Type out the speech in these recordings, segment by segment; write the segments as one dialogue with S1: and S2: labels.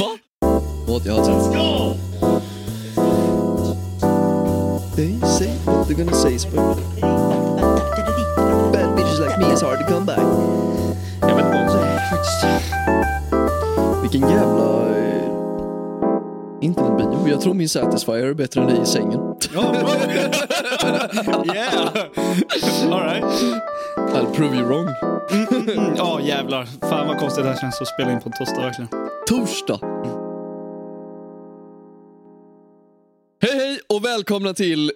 S1: Va?
S2: Låt jag ha They say what they're gonna say but bad bitches like me is hard to come by.
S1: Jag vet inte.
S2: Så här, faktiskt. Vilken jävla... Eh, internetbio. Jag tror min Satisfyer är bättre än dig i sängen.
S1: Yeah! Alright.
S2: I'll prove you wrong.
S1: Ja, jävlar. Fan vad konstigt det här känns att spela in på en torsdag verkligen.
S2: Torsdag. Hej hej och välkomna till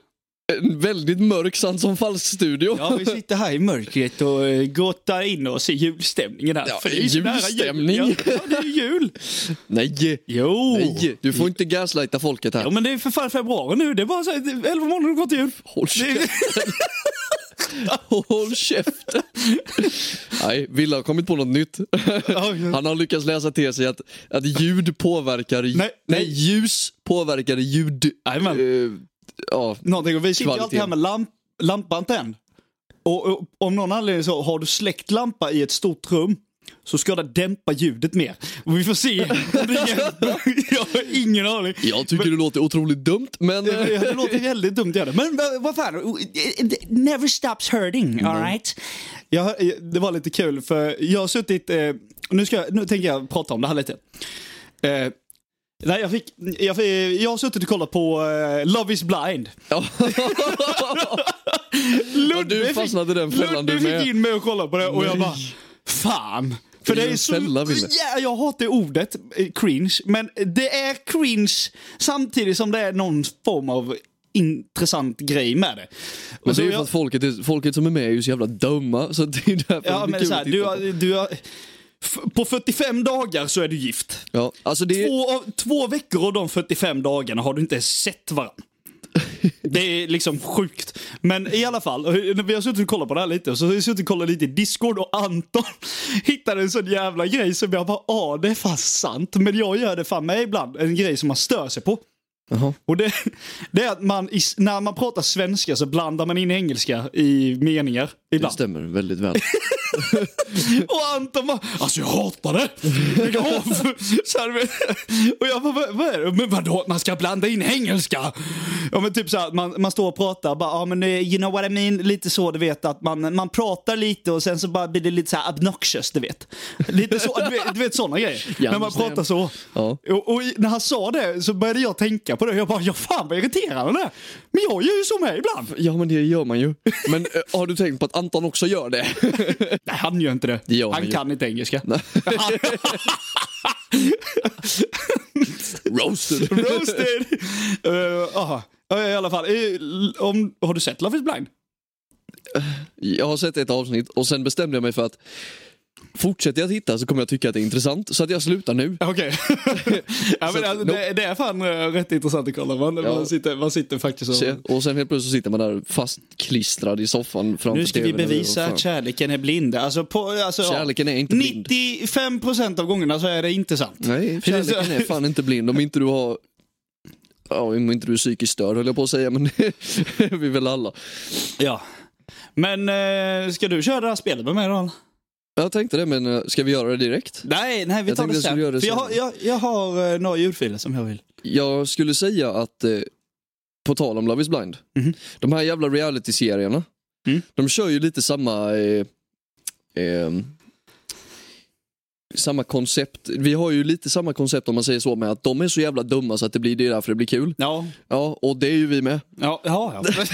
S2: en väldigt mörk Sand som falsk-studio.
S1: Ja, vi sitter här i mörkret och eh, gottar in oss i julstämningen här.
S2: Ja,
S1: För det är ju nära jul.
S2: julstämning.
S1: Ja, ja, det är ju jul.
S2: Nej,
S1: Jo.
S2: nej, du får inte gaslighta folket här.
S1: Ja, men det är för fan februari nu. Det är bara så här, det är 11 månader kvar till jul.
S2: Håll käften. Håll käften. Nej, Wille har kommit på något nytt. Han har lyckats läsa till sig att, att ljud påverkar...
S1: Nej.
S2: nej ljus påverkar ljud...
S1: Jajamän.
S2: eh, ja,
S1: Någonting. Och vi sitter ju alltid
S2: Kvaliteten.
S1: här med lamp, lampan tänd. Och, och om någon anledning så har du släckt lampa i ett stort rum så ska det dämpa ljudet mer. Och vi får se om det hjälper. Jag har ingen aning.
S2: jag tycker det låter otroligt dumt, men... eh,
S1: Det, det låter väldigt dumt. Gör det. Men vad- vad fan, it never stops hurting, all right? Mm. Jag, hör- det var lite kul för jag har suttit, eh, nu, ska jag, nu tänker jag prata om det här lite. Eh, nej, jag, fick, jag, fick, jag har suttit och kollat på eh, Love is blind.
S2: ja.
S1: Ludde
S2: du fastnade i den fällan du
S1: Ludde
S2: med.
S1: fick in mig och kollade på det och jag
S2: Nej.
S1: bara, fan. För
S2: Det
S1: det
S2: är
S1: är
S2: en
S1: så...
S2: fälla, Wille.
S1: ja, jag hatar ordet eh, cringe, men det är cringe samtidigt som det är någon form av intressant grej med det. Och
S2: Men
S1: så
S2: det är ju
S1: Alltså, jag-
S2: för att folket, är, folket som är med är ju så jävla dumma, så det är därför
S1: Ja,
S2: det blir
S1: men
S2: kul
S1: så här,
S2: att titta
S1: du,
S2: på.
S1: har, du har, f- på 45 dagar så är du gift.
S2: Ja, alltså det är,
S1: Två, av, två veckor av de 45 dagarna har du inte sett varandra. Det är liksom sjukt. Men i alla fall, och hur- vi har suttit och kollat på det här lite. Och så har vi suttit och kollat lite i Discord och Anton hittade en sån jävla grej som jag bara, ja det är fan sant. Men jag gör det fan med ibland, en grej som man stör sig på.
S2: Jaha.
S1: Och det, det är att man, i, när man pratar svenska så blandar man in engelska i meningar
S2: det
S1: ibland.
S2: stämmer väldigt väl.
S1: Och Anton bara, alltså jag hatar det. Lägg av. Så här, men- och jag bara, vad, vad är det? Men vadå att man ska blanda in engelska? Ja men typ så här, man, man står och pratar, bara, ja men eh, you know what I mean, lite så du vet att man, man pratar lite och sen så bara blir det lite så här obnoxious du vet. Lite så, du vet, du vet sådana grejer.
S2: Ja,
S1: När man
S2: understand.
S1: pratar så.
S2: Ja.
S1: Och, och i- när han sa det så började jag tänka på det. Jag bara, ja fan vad irriterande det är. Men jag gör ju så med ibland.
S2: Ja men det gör man ju. Men eh, har du tänkt på att Anton också gör det?
S1: Nej, han gör inte det.
S2: Det gör han
S1: han
S2: ju.
S1: kan inte engelska.
S2: Roasted.
S1: Roasted! Eh, aha. Eh, I alla fall, eh, l- om, har du sett Love is blind?
S2: Jag har sett ett avsnitt och sen bestämde jag mig för att fortsätter jag titta så kommer jag tycka att det är intressant. Så att jag slutar nu.
S1: Okej. ja, men
S2: Så-
S1: alltså, det, det är fan eh, rätt intressant att kolla. Man, man, sitter, man sitter faktiskt och...
S2: Se. Och sen helt plötsligt så sitter man där fastklistrad i soffan framför
S1: Nu ska vi
S2: TV:n eller
S1: bevisa
S2: vad fan.
S1: att kärleken är blind. Alltså, på, alltså, ja.
S2: Kärleken är inte blind.
S1: 95% av gångerna så är det inte sant.
S2: Nej, kärleken är fan inte blind om inte du har... Ja, om inte du är psykiskt störd höll jag på att säga, men det är vi väl alla.
S1: Ja. Men eh, ska du köra det här spelet med mig då?
S2: Jag tänkte det, men eh, ska vi göra det direkt?
S1: Nej, nej vi
S2: Jag
S1: tar
S2: tänkte
S1: det
S2: jag
S1: sen.
S2: skulle göra det
S1: För jag, har,
S2: sen.
S1: jag, jag har eh, några ljudfiler som jag vill.
S2: Jag skulle säga att, eh, på tal om Love is blind,
S1: Mhm.
S2: de här jävla reality-serierna,
S1: Mm.
S2: de kör ju lite samma... Eh, ehm, samma koncept. Vi har ju lite samma koncept om man säger så med att de är så jävla dumma så att det blir det är därför det blir kul.
S1: Ja,
S2: Ja, och det är ju vi med.
S1: ja, ja. ja.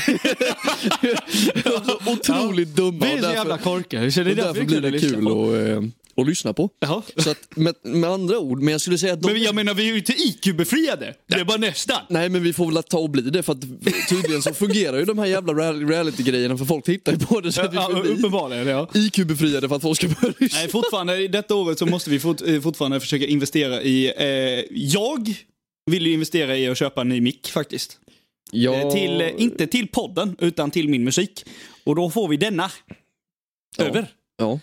S2: Alltså, otroligt dumma.
S1: Vi är
S2: och
S1: så
S2: därför-
S1: jävla korkade, så det är
S2: Och därför blir det kul att, eh, att lyssna på.
S1: Jaha.
S2: Så att, med, med andra ord, men jag skulle säga att de...
S1: Men jag menar, vi är ju inte IQ-befriade. Det är bara nästan.
S2: Nej men vi får väl ta och bli det för att tydligen så fungerar ju de här jävla real- reality-grejerna för folk tittar ju på det så att vi
S1: Ja,
S2: får bli
S1: uppenbarligen, ja.
S2: IQ-befriade för att folk ska börja lyssna.
S1: Nej, fortfarande, i detta året så måste vi fort, eh, fortfarande försöka investera i... Eh, jag vill ju investera i att köpa en ny mick faktiskt. Eh,
S2: Ja,
S1: Till, eh, inte till podden, utan till min musik. Och då får vi denna.
S2: Ja.
S1: Över.
S2: ja.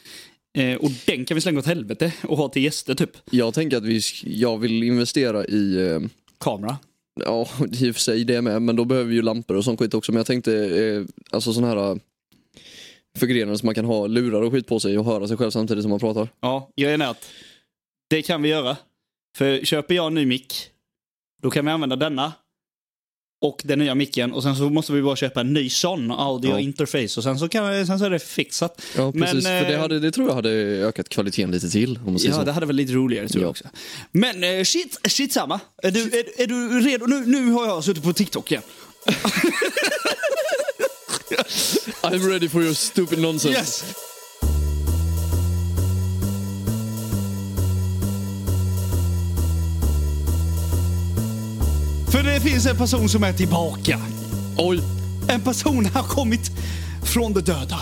S1: Eh, och den kan vi slänga åt helvete och ha till gäster typ.
S2: Jag tänker att vi, sk- jag vill investera i, eh,
S1: Kamera.
S2: ja i och för sig det med, men då behöver vi ju lampor och sån skit också. Men jag tänkte, eh, alltså sån här eh, förgrenade som man kan ha lurar och skit på sig och höra sig själv samtidigt som man pratar.
S1: Ja, grejen är att det kan vi göra. För köper jag en ny mick, då kan vi använda denna och den nya micken och sen så måste vi bara köpa en ny sån audio
S2: Ja.
S1: interface och sen så, kan, sen så är det fixat.
S2: Ja, precis.
S1: Men,
S2: för det,
S1: eh,
S2: hade, det tror jag hade ökat kvaliteten lite till. Om man säger
S1: Ja,
S2: så.
S1: det hade varit lite roligare tror
S2: Ja.
S1: jag också. Men eh, shit, shit samma. Är du, är, är du redo? Nu, nu har jag suttit på TikTok igen.
S2: I'm ready for your stupid nonsense.
S1: Yes! För det finns en person som är tillbaka.
S2: Oj,
S1: En person har kommit från de döda.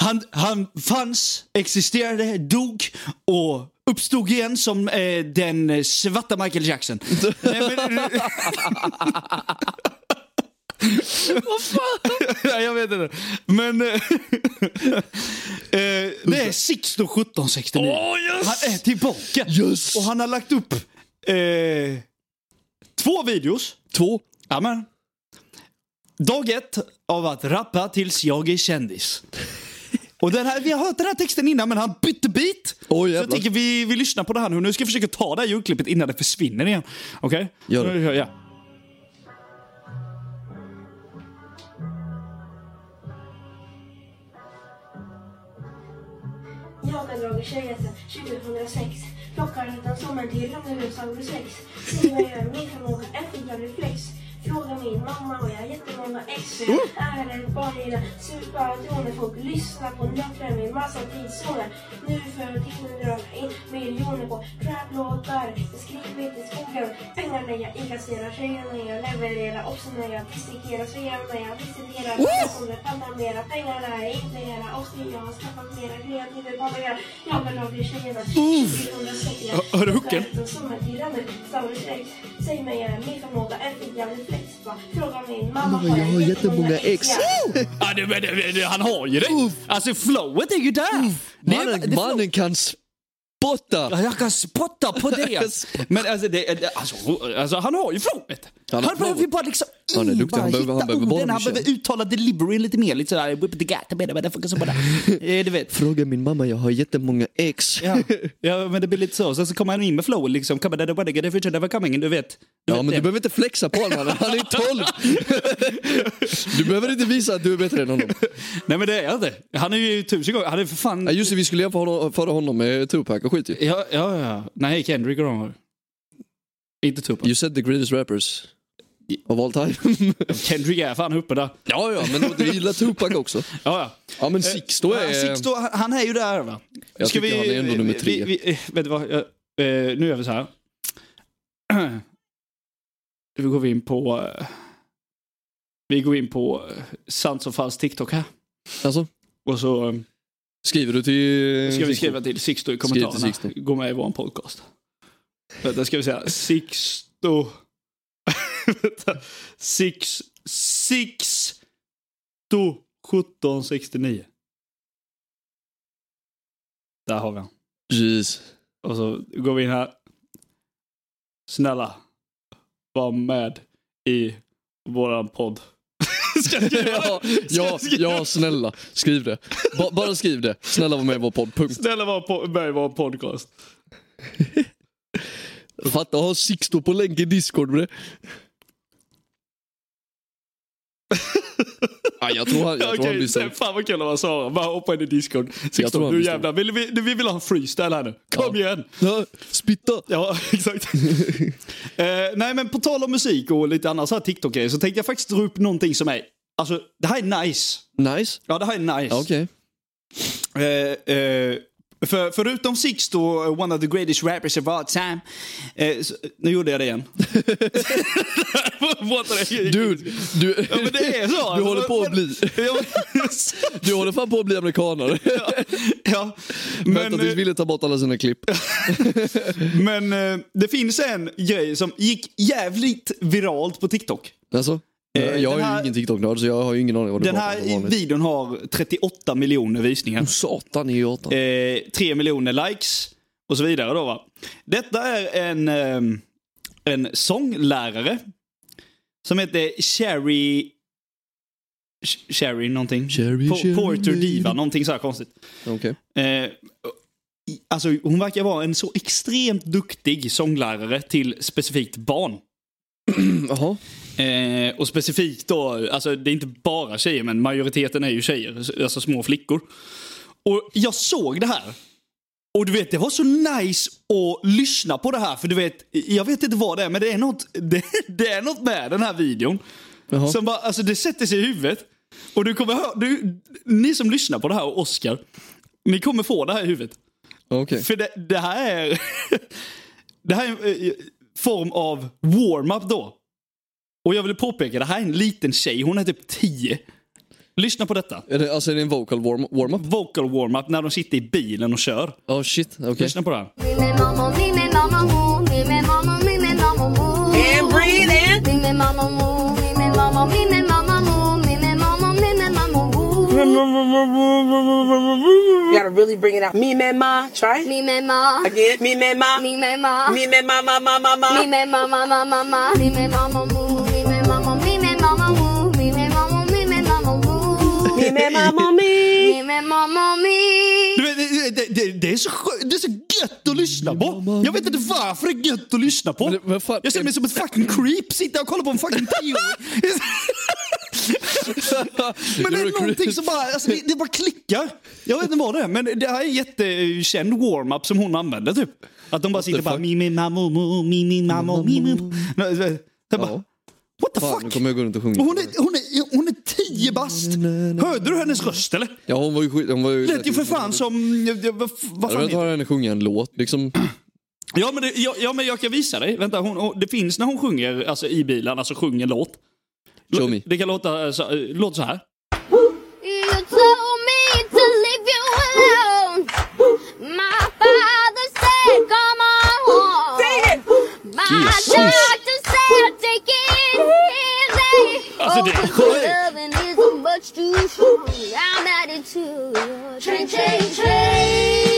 S1: Han, han fanns, existerade, dog och uppstod igen som eh, den eh, svarta Michael Jackson. Nej, men, Vad fan? Nej, jag vet inte. Men... eh, eh, det är Sixto 1769.
S2: Åh, yes!
S1: Han är tillbaka.
S2: Yes!
S1: Och han har lagt upp eh, två videos.
S2: två.
S1: Amen. Dag ett av att rappa tills jag är kändis. Och den här, vi har hört den här texten innan, men han bytte beat.
S2: Oj,
S1: så jag
S2: jävlar.
S1: tänker vi, vi lyssnar på det här nu. Nu ska jag försöka ta det här ljudklippet innan det försvinner igen. Okej?
S2: Gör det.
S1: Nu hör jag.
S3: Jag med Roger Tjejhjälten 2006 Plockar hittar sommaren till ramlar ut som sex Ser vad jag gör, min förmåga efter jag reflex Fråga min mamma och jag har jättemånga ex Är ett barn i den super folk Lyssna på nötter med massa tidszoner Nu för tiden drar jag in miljoner på Trap-låtar Jag skriver till skogen Pengar när jag inkasserar Tjejer när jag levererar Också när jag dissekerar Svear när jag visiterar Personer pantar mera Pengar när jag inflerar Och jag har skaffat mera Grejer till det bara jag Jag vill ha bli
S2: Mm.
S3: tjejerna 2006
S1: Hör- hör du hooken?
S3: Säg mig är min förmåga en jävla flex va? Fråga min mamma
S2: Mamma, jag har jättemånga ex.
S3: Ja.
S1: Ja, det, men det, det, han har ju det. Alltså flowet är ju där. Det är-
S2: Mannen,
S1: det är flow.
S2: mannen kan spotta.
S1: Ja, Jag kan spotta på
S2: kan
S1: det.
S2: spotta.
S1: Men alltså, det, det- alltså, alltså han har ju flowet.
S2: Han
S1: Han,
S2: har
S1: behöver ju
S2: flowet.
S1: bara liksom
S2: Han är
S1: mm,
S2: duktig, han
S1: bara
S2: behöver- han
S1: hitta
S2: behöver bara
S1: orden, han
S2: köra.
S1: behöver uttala deliveryn lite mer. Lite sådär, whip the gata, bada, bada, fucka, så bara. Eh, Du vet.
S2: Fråga min mamma, jag har jättemånga ex.
S1: Ja. ja, men det blir lite så. Sen så kommer han in med flow liksom. Come on, bada, gada, future, never coming, du vet.
S2: Ja, men du behöver inte flexa på honom, mannen. han är 12. Du behöver inte visa att du är bättre än honom.
S1: Nej, men det är jag inte. Han är ju tusen gånger, han är för
S2: Ja,
S1: fan...
S2: just det, vi skulle jämföra honom, föra honom med Tupac och skit ju.
S1: Ja, ja, ja. Nej, Kendrick och de var- Inte Tupac.
S2: You said the greatest rappers of all time.
S1: Kendrick är fan uppe där.
S2: Ja, ja, men du gillar Tupac också.
S1: Ja, ja.
S2: Ja, men Sixto
S1: Eh, Ja,
S2: är...
S1: Sixto, han- han är ju där va?
S2: Jag tycker han är ändå nummer tre.
S1: Vi, vi, eh, vet du vad, jag, eh, nu gör vi så här. Nu går vi in på... eh, Vi går in på eh, sant som falskt TikTok här.
S2: Alltså,
S1: Och så eh,
S2: skriver du till...
S1: ska vi
S2: Sixto?
S1: skriva till Sixto i
S2: till
S1: kommentarerna.
S2: Sixto.
S1: Gå med i vår podcast. Vänta, ska vi säga Sixto... Vänta. Six... Sixto 1769. Där har vi han.
S2: Jeez.
S1: Och så går vi in här. Snälla, var med i våran podd. Ska jag skriva
S2: Ja,
S1: det? Ska
S2: ja,
S1: jag skriva
S2: ja, snälla. Skriv det. Ba, bara skriv det. Snälla var med i vår podd. Punkt.
S1: Snälla, var på, med i vår podcast.
S2: Fatta, ha Sixto på länk i Discord med det. Ja, jag tror han, jag tror han
S1: Okej,
S2: blir
S1: sen,
S2: så.
S1: fan vad kul om man svarar. Bara hoppa in i Discord.
S2: Jag tror
S1: Sixton,
S2: han
S1: nu
S2: blir
S1: jävlar. Vill vi, nu, vi vill ha en freestyle här nu. Kom igen!
S2: Ja, Spitta!
S1: Ja, exakt. eh, nej, men på tal om musik och lite annat så här TikTok-grejer så tänkte jag faktiskt dra upp någonting som är... Alltså, det här är nice.
S2: Nice.
S1: Ja, det här är nice.
S2: Ja, Okej.
S1: Eh, eh, för, förutom Sixto, eh, one of the greatest rappers of all time. Eh, så, nu gjorde jag det igen. What the-
S2: Dude, du,
S1: Ja, men det är så. alltså,
S2: du håller på att bli...
S1: Ja,
S2: Du håller fan på att bli amerikanare.
S1: ja.
S2: Vänta
S1: Men,
S2: tills
S1: eh,
S2: Ville tar bort alla sina klipp.
S1: men eh, det finns en grej som gick jävligt viralt på TikTok.
S2: Alltså, jag
S1: Eh,
S2: jag
S1: den
S2: är
S1: här-
S2: ju ingen TikTok-nörd så jag har ju ingen aning vad du
S1: Den
S2: pratar om som
S1: här
S2: vanligt. Mm.
S1: videon har 38 miljoner visningar.
S2: Satan i gatan.
S1: eh, 3 miljoner likes och så vidare. Då, va? Detta är en, ehm, en sånglärare som heter Sherry... Sh- Sherry någonting.
S2: Sherry,
S1: Po-
S2: Sherry.
S1: Porter Diva, någonting så här konstigt.
S2: Okej.
S1: Eh, i- Alltså, hon verkar vara en så extremt duktig sånglärare till specifikt barn.
S2: Jaha.
S1: Eh, och specifikt då, alltså det är inte bara tjejer men majoriteten är ju tjejer, alltså små flickor. Och jag såg det här. Och du vet, det var så nice att lyssna på det här för du vet, jag vet inte vad det är men det är något, det, det är något med den här videon.
S2: Jaha.
S1: Som bara, alltså det sätter sig i huvudet. Och du kommer hö- du, ni som lyssnar på det här och Oscar, ni kommer få det här i huvudet.
S2: Okej.
S1: För det, det här är... det här är en eh, form av warm-up då. Och jag vill påpeka, det här är en liten tjej. Hon är typ 10. Lyssna på detta.
S2: Är det, alltså är det en vocal warm- warm-up?
S1: Vocal warm-up när de sitter i bilen och kör.
S2: Ja, shit. Okej.
S1: Lyssna på det här.
S4: Me me mama, me me mama, woo. Me me mama, me me mama, woo.
S5: And breathe in.
S4: Me me mama, woo. Me me mama, me me mama, woo. Me me mama, me me mama, woo.
S5: You gotta really bring it out. Me, me, ma. Try it.
S4: Me me ma,
S5: Again. Me, me, ma.
S4: me me ma,
S5: Me, me, ma, ma, ma, ma,
S4: me me
S5: ma.
S4: mama, mama, ma. Me me mama, woo. Me me mama, me me mama, woo. Me me mama, me me mama, woo.
S5: Me, me, ma, ma, me.
S4: Me me mama, me.
S1: Du vet, det, det, det, det, är så, skö- det är så gött att lyssna på. Jag vet inte varför det är gött att lyssna på.
S2: Men det- vad fan-
S1: jag känner mig som ett fucking creep. Sitter och kollar på en fucking tioåring. Men det
S2: You're a
S1: är
S2: creep.
S1: någonting som bara, alltså, det, det bara klickar. Jag vet inte vad det är, men det här är en jättekänd warm-up som hon använder typ. Att de bara sitter
S2: the
S1: bara
S2: fuck? Mm.
S1: mi mi ma mo mo mi mi ma mo mi mi. Jag bara,
S2: Ja.
S1: what the
S2: Fan, nu
S1: fuck?
S2: kommer jag gå runt och sjunga.
S1: Hon är, hon, är, hon är tio bast. Hörde du hennes röst eller?
S2: Ja, hon var ju skit... Hon var ju...
S1: Lät ju för fan som... Vad vad
S2: Jag
S1: fan
S2: vill inte
S1: heter
S2: höra henne sjunga en låt liksom.
S1: Ja men, det, ja, ja, men jag kan visa dig. Vänta, hon, hon, det finns när hon sjunger alltså, i bilen, alltså sjunger låt.
S2: Show me.
S1: Det kan låta eh, så, eh, låt så här.
S4: You told me to leave you alone. My father said, come on home.
S5: Sing
S4: it. My
S2: Jesus.
S4: doctor said, take it easy.
S1: Alltså, det är
S4: this
S1: sjukt.
S4: loving is much too strong. I'm addicted to your train, train, train.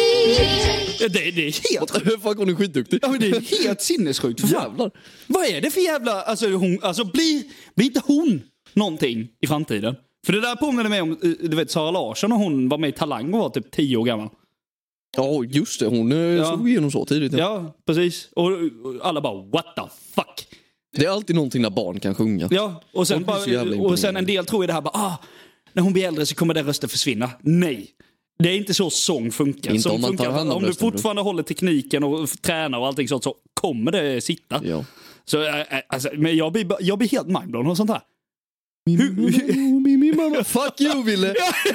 S1: Eh, Det, det är helt
S2: Fuck, hon är skitduktig.
S1: Ja, men det är helt sinnessjukt. För fan.
S2: Jävlar.
S1: Vad är det för jävla... Alltså, hon, alltså blir, blir inte hon någonting i framtiden? För det där påminner mig om eh, du vet, Sara Larsson och hon var med i Talang och var typ 10 år gammal.
S2: Ja, just det. Hon eh, slog igenom så tidigt.
S1: Ja, precis. Och och alla bara what the fuck.
S2: Det är alltid någonting när barn kan sjunga.
S1: Ja, och sen,
S2: Hon blir så jävla
S1: bara, och sen
S2: imponerande.
S1: en del tror ju det här bara ah, när hon blir äldre så kommer den rösten försvinna. Nej. Det är inte så sång funkar.
S2: Inte
S1: Sång
S2: om man tar
S1: funkar-
S2: hand om
S1: du
S2: rösten, bro.
S1: fortfarande håller tekniken och f- tränar och allting sånt så kommer det sitta.
S2: Ja.
S1: Så, äh, äh, alltså, men jag blir, ba- jag blir helt mindblown och sånt här.
S2: Min mamma, min, min mamma. Fuck you Ville!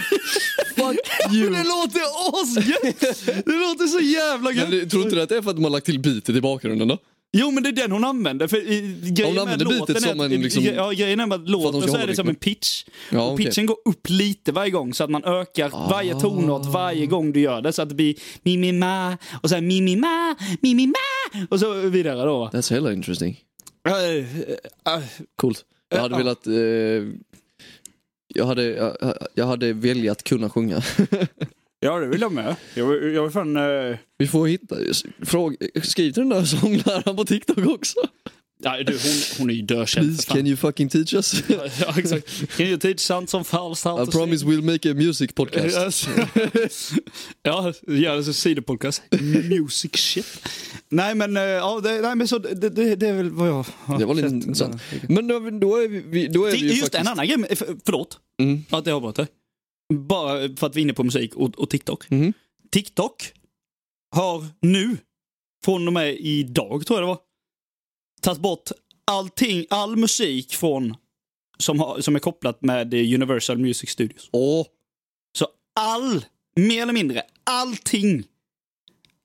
S2: Fuck you!
S1: Det låter asgött! Det låter så jävla
S2: Men
S1: gött!
S2: du, tror inte du att det är för att de har lagt till bitet i bakgrunden då?
S1: Jo men det är den hon använder. För i, grejen
S2: Hon
S1: med
S2: använder bitet
S1: låten är
S2: som
S1: att-
S2: en liksom-
S1: ja, grejen är med att låten
S2: ska
S1: så är
S2: hålla
S1: det som
S2: rytmen.
S1: en pitch.
S2: Ja,
S1: och
S2: okej.
S1: pitchen går upp lite varje gång så att man ökar varje tonart varje gång du gör det. Så att det blir mi mi ma och sen mi mi ma, mi mi ma och så vidare då. va.
S2: That's hella interesting.
S1: Eh, eh,
S2: Coolt. Jag hade
S1: Ja.
S2: velat... Eh, jag, hade, jag, jag hade velat kunna sjunga.
S1: Ja det vill jag med. Jag vill, jag vill fan... eh,
S2: Vi får hitta... Fråg, skriv till den där sångläraren på TikTok också.
S1: Nej, du, hon, hon är ju dökänd.
S2: Please
S1: för fan.
S2: can you fucking teach us?
S1: Ja, exakt. Can you teach sant som falskt? how
S2: I
S1: to sing?
S2: promise we'll make a music podcast.
S1: Yes. ja, gör en sån sidopodcast. Music shit. Nej men, eh, ja, det, nej, men så, det, det, det är väl vad jag har
S2: Det var lite
S1: sett.
S2: intressant. Men då, då är vi, då är
S1: Det
S2: vi
S1: är
S2: ju
S1: Just
S2: faktiskt...
S1: en annan grej, med- för- förlåt
S2: Mm.
S1: att jag avbröt dig. Bara för att vi är inne på musik och, och TikTok.
S2: Mhm.
S1: TikTok har nu, från och med idag tror jag det var, tagit bort allting, all musik från som, har, som är kopplat med eh, Universal Music Studios.
S2: Åh,
S1: Så all, mer eller mindre, allting.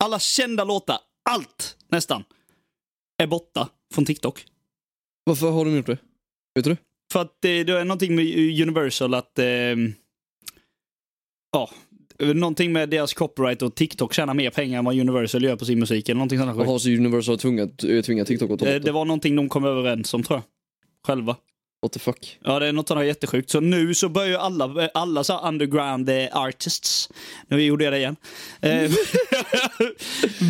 S1: Alla kända låtar, allt nästan, är borta från TikTok.
S2: varför har de gjort det? Vet du?
S1: För att eh, det, det är någonting med Universal att... Eh, ja, någonting med deras copyright och TikTok tjänar mer pengar än vad Universal gör på sin musik eller någonting sånt. där skit.
S2: Jaha, så Universal har tvingat, tvingat TikTok att ta
S1: Eh,
S2: bort
S1: Det
S2: det?
S1: var någonting de kom överens om tror jag. Själva.
S2: What the fuck?
S1: Ja, det är något som är jättesjukt. Så nu så börjar ju alla, alla så här underground eh, artists, nu gjorde jag det igen, eh,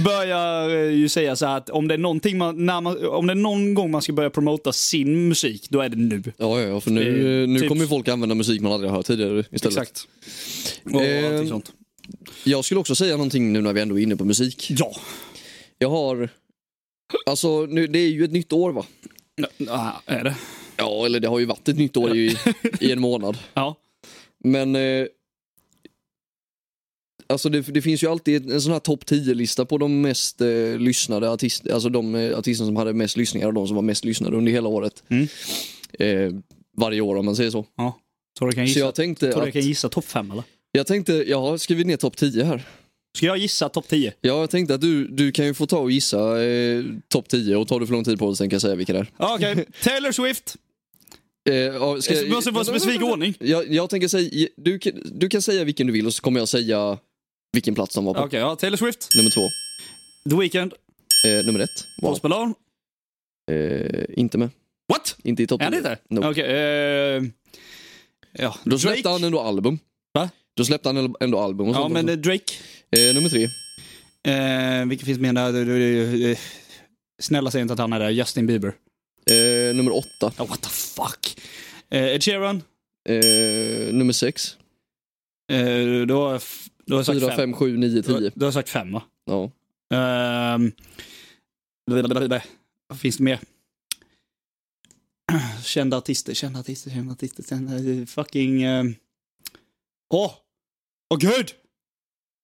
S1: börjar eh, ju säga så här att om det, är någonting man, när man, om det är någon gång man ska börja promota sin musik, då är det nu.
S2: Ja, ja, ja för nu,
S1: Eh,
S2: nu
S1: typ-
S2: kommer ju folk använda musik man aldrig har hört tidigare istället.
S1: Och
S2: Eh,
S1: allting sånt.
S2: Jag skulle också säga någonting nu när vi ändå är inne på musik.
S1: Ja.
S2: Jag har... Alltså, nu, det är ju ett nytt år va?
S1: Ja, är det?
S2: Ja, eller det har ju varit ett nytt år i, i en månad.
S1: Ja.
S2: Men... Eh, alltså det, det finns ju alltid en sån här topp 10-lista på de mest eh, lyssnade artisterna. Alltså de eh, artister som hade mest lyssningar och de som var mest lyssnade under hela året.
S1: Mm.
S2: Eh, varje år om man säger så.
S1: ja. Tror du jag kan
S2: Så
S1: gissa,
S2: jag tänkte
S1: tror du
S2: att...
S1: jag kan gissa topp fem eller?
S2: Jag tänkte, jag har skrivit ner topp 10 här.
S1: Ska jag gissa topp 10?
S2: Ja, jag tänkte att du, du kan ju få ta och gissa eh, topp 10 och tar du för lång tid på dig sen kan jag säga vilka det är.
S1: Ja, Okej, Taylor Swift.
S2: Eh, ja, ska
S1: Det måste vara specifik ordning.
S2: Jag, jag tänker säga, du, kan- du kan säga vilken du vill och så kommer jag säga vilken plats de var på.
S1: Okej, ja, Taylor Swift,
S2: Nummer två.
S1: The Weeknd,
S2: Eh, nummer ett. Wow.
S1: Post Malone.
S2: Eh, inte med.
S1: What?
S2: Inte i topp
S1: Är han
S2: 10.
S1: inte?
S2: Nope.
S1: Okej, eh, ja,
S2: Då släppte han ändå album.
S1: Va?
S2: Då släppte han ändå album och
S1: Ja,
S2: sånt
S1: men
S2: också.
S1: eh, Drake.
S2: eh, nummer tre.
S1: Eh, vilken finns mer där? Du, du, du, eh, Snälla säg inte att han är där. Justin Bieber.
S2: Eh, nummer åtta.
S1: Oh, what the fuck? Eh, Ed Sheeran.
S2: Eh, nummer sex.
S1: Eh, då, har jag f- då har jag sagt
S2: Fyra,
S1: fem.
S2: fem, sju, nio,
S1: Då,
S2: tio.
S1: då har jag sagt fem, va?
S2: Ja.
S1: Ehm, blablabla. Vad finns det mer? Kända artister, kända artister, kända artister. Kända, eh, fucking... eh, Åh! Åh gud!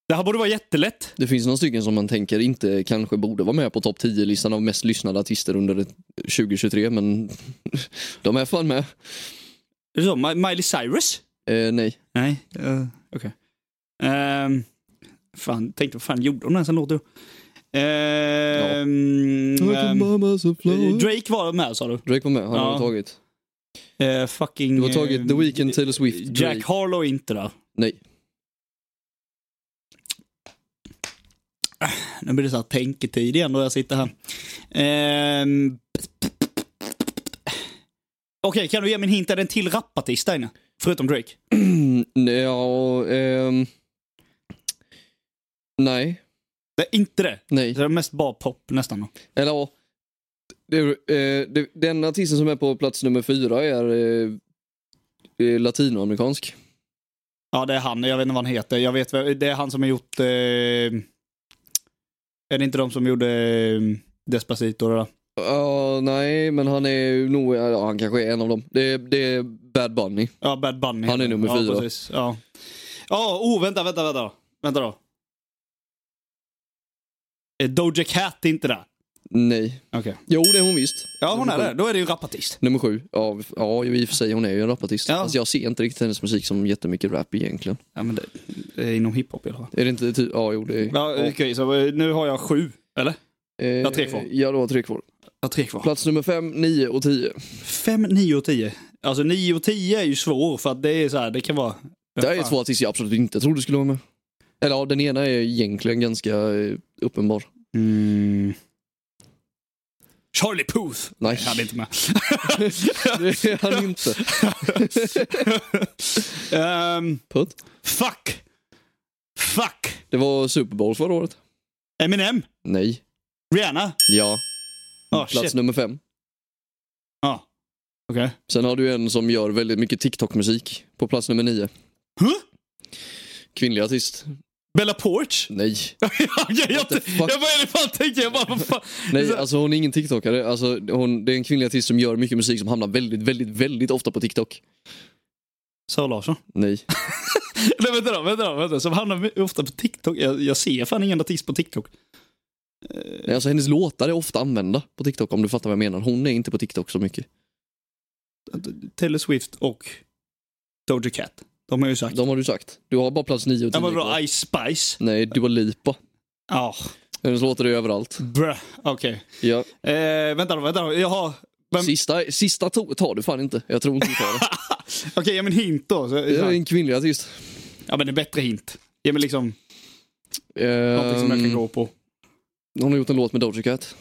S1: Det här borde vara jättelätt.
S2: Det finns några stycken som man tänker inte kanske borde vara med på topp 10-listan av mest lyssnade artister under det- 2023, men de är fan med.
S1: Är det så? Mi- Miley Cyrus?
S2: Eh, nej.
S1: Nej. Uh, Okej. Ehm, fan, tänkte vad fan gjorde hon ens en låt då? Ehm, ehm, Drake var med sa du?
S2: Drake var med, han
S1: Ja.
S2: har tagit.
S1: Eh, fucking...
S2: Du har tagit The
S1: eh,
S2: Weeknd, Taylor Swift,
S1: Jack
S2: Drake.
S1: Harlow är inte där.
S2: Nej.
S1: Nu blir det så här tänketid igen då jag sitter här. Ehm... Okej, kan du ge mig en hint? Är det en till rapartist där inne? Förutom Drake?
S2: Nej, ja, ehm. nej,
S1: Det är inte det.
S2: nej.
S1: Det är mest bara pop nästan. då.
S2: Eller ja. Det, eh, det, den artisten som är på plats nummer fyra är eh, eh, latinoamerikansk.
S1: Ja, det är han. Jag vet inte vad han heter. Jag vet, vem- det är han som har gjort... Eh... Är det inte de som gjorde eh, Despacito? Då?
S2: Ja, nej, men han är nog, ja, han kanske är en av dem. Det, det är Bad Bunny.
S1: Ja, Bad Bunny.
S2: Han är
S1: heter
S2: nummer fyra.
S1: Ja, precis. Ja. Ja, oh, vänta, vänta, vänta. Vänta då. Eh, Doja Cat är inte där.
S2: Nej.
S1: Okej.
S2: Jo, det är hon visst.
S1: Ja, hon är
S2: Nummer
S1: det.
S2: sju.
S1: Då är det ju rapartist.
S2: Nummer sju. Ja, f- ja, i och för sig, hon är ju en rapartist.
S1: Ja.
S2: Fast jag ser inte riktigt hennes musik som jättemycket rap egentligen.
S1: Ja, men det, det är inom hiphop i alla fall.
S2: Är det inte typ, ja jo det är...
S1: Ja, Okej, så eh, nu har jag sju, eller?
S2: jag
S1: har tre kvar.
S2: Eh, Ja, du har tre kvar.
S1: Jag har tre kvar.
S2: Plats nummer fem, nio och tio.
S1: Fem, nio och tio. Alltså nio och tio är ju svår för att det är så här, det kan vara...
S2: Det här är två artister jag absolut inte trodde skulle vara med. Eller ja, den ena är egentligen ganska eh, uppenbar.
S1: Mm. Charlie Puth!
S2: Nej,
S1: Han är inte med.
S2: det är han inte.
S1: Ehm,
S2: Putt.
S1: fuck! Fuck!
S2: Det var Super Bowl förra året.
S1: Eminem?
S2: Nej.
S1: Rihanna?
S2: Ja.
S1: Ja,
S2: Plats
S1: shit.
S2: nummer fem.
S1: Ja. Okej.
S2: Sen har du en som gör väldigt mycket TikTok-musik på plats nummer nio.
S1: Huh?
S2: Kvinnlig artist.
S1: Bella Porch?
S2: Nej.
S1: jag, jag,
S2: the fuck?
S1: jag började fan tänka, jag bara vad fan.
S2: Nej,
S1: Så-
S2: alltså hon är ingen TikTokare. Alltså, hon, det är en kvinnlig artist som gör mycket musik som hamnar väldigt, väldigt, väldigt ofta på TikTok.
S1: Sara Larsson?
S2: Nej.
S1: Nej vänta då, vänta då, vänta. Som hamnar ofta på TikTok. Jag, jag ser fan ingen artist på TikTok.
S2: Nej, Alltså hennes låtar är ofta använda på TikTok om du fattar vad jag menar. Hon är inte på TikTok så mycket.
S1: Taylor Swift och Doja Cat. De har ju sagt.
S2: De har du sagt. Du har bara plats 9 och
S1: Ja,
S2: 10
S1: men vadå,
S2: kvar.
S1: Ice Spice?
S2: Nej, Dua Lipa.
S1: Ja,
S2: Hennes låtar är överallt.
S1: bruh. Okej.
S2: Ja.
S1: Eh, vänta då, vänta då. Jag har... Vem... Okej,
S2: Sista, sista to- tar du fan inte. Jag tror inte du tar det.
S1: ge mig en hint då. Så,
S2: Det är
S1: så.
S2: en kvinnlig artist.
S1: Ja, men en bättre hint. Ge mig liksom någonting som jag kan
S2: Ehm,
S1: gå på.
S2: hon har gjort en låt med Doja Cat.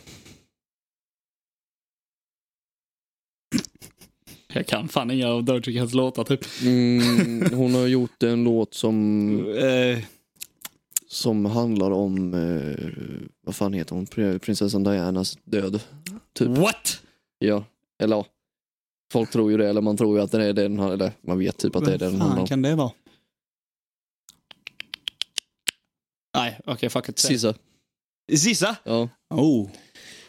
S1: Jag kan fan inga av Doja Cats låtar typ.
S2: Mm, hon har gjort en låt som,
S1: Eh,
S2: som handlar om, eh, vad fan heter hon, Pri- prinsessan Dianas död. Typ.
S1: what?
S2: Ja, eller ja. Folk tror ju det, eller man tror ju att det är den, eller man vet typ att det är den
S1: Vem
S2: handlar
S1: fan
S2: om.
S1: kan det vara? Okej, fuck it.
S2: SZA.
S1: Sissa?
S2: Ja.
S1: Oh.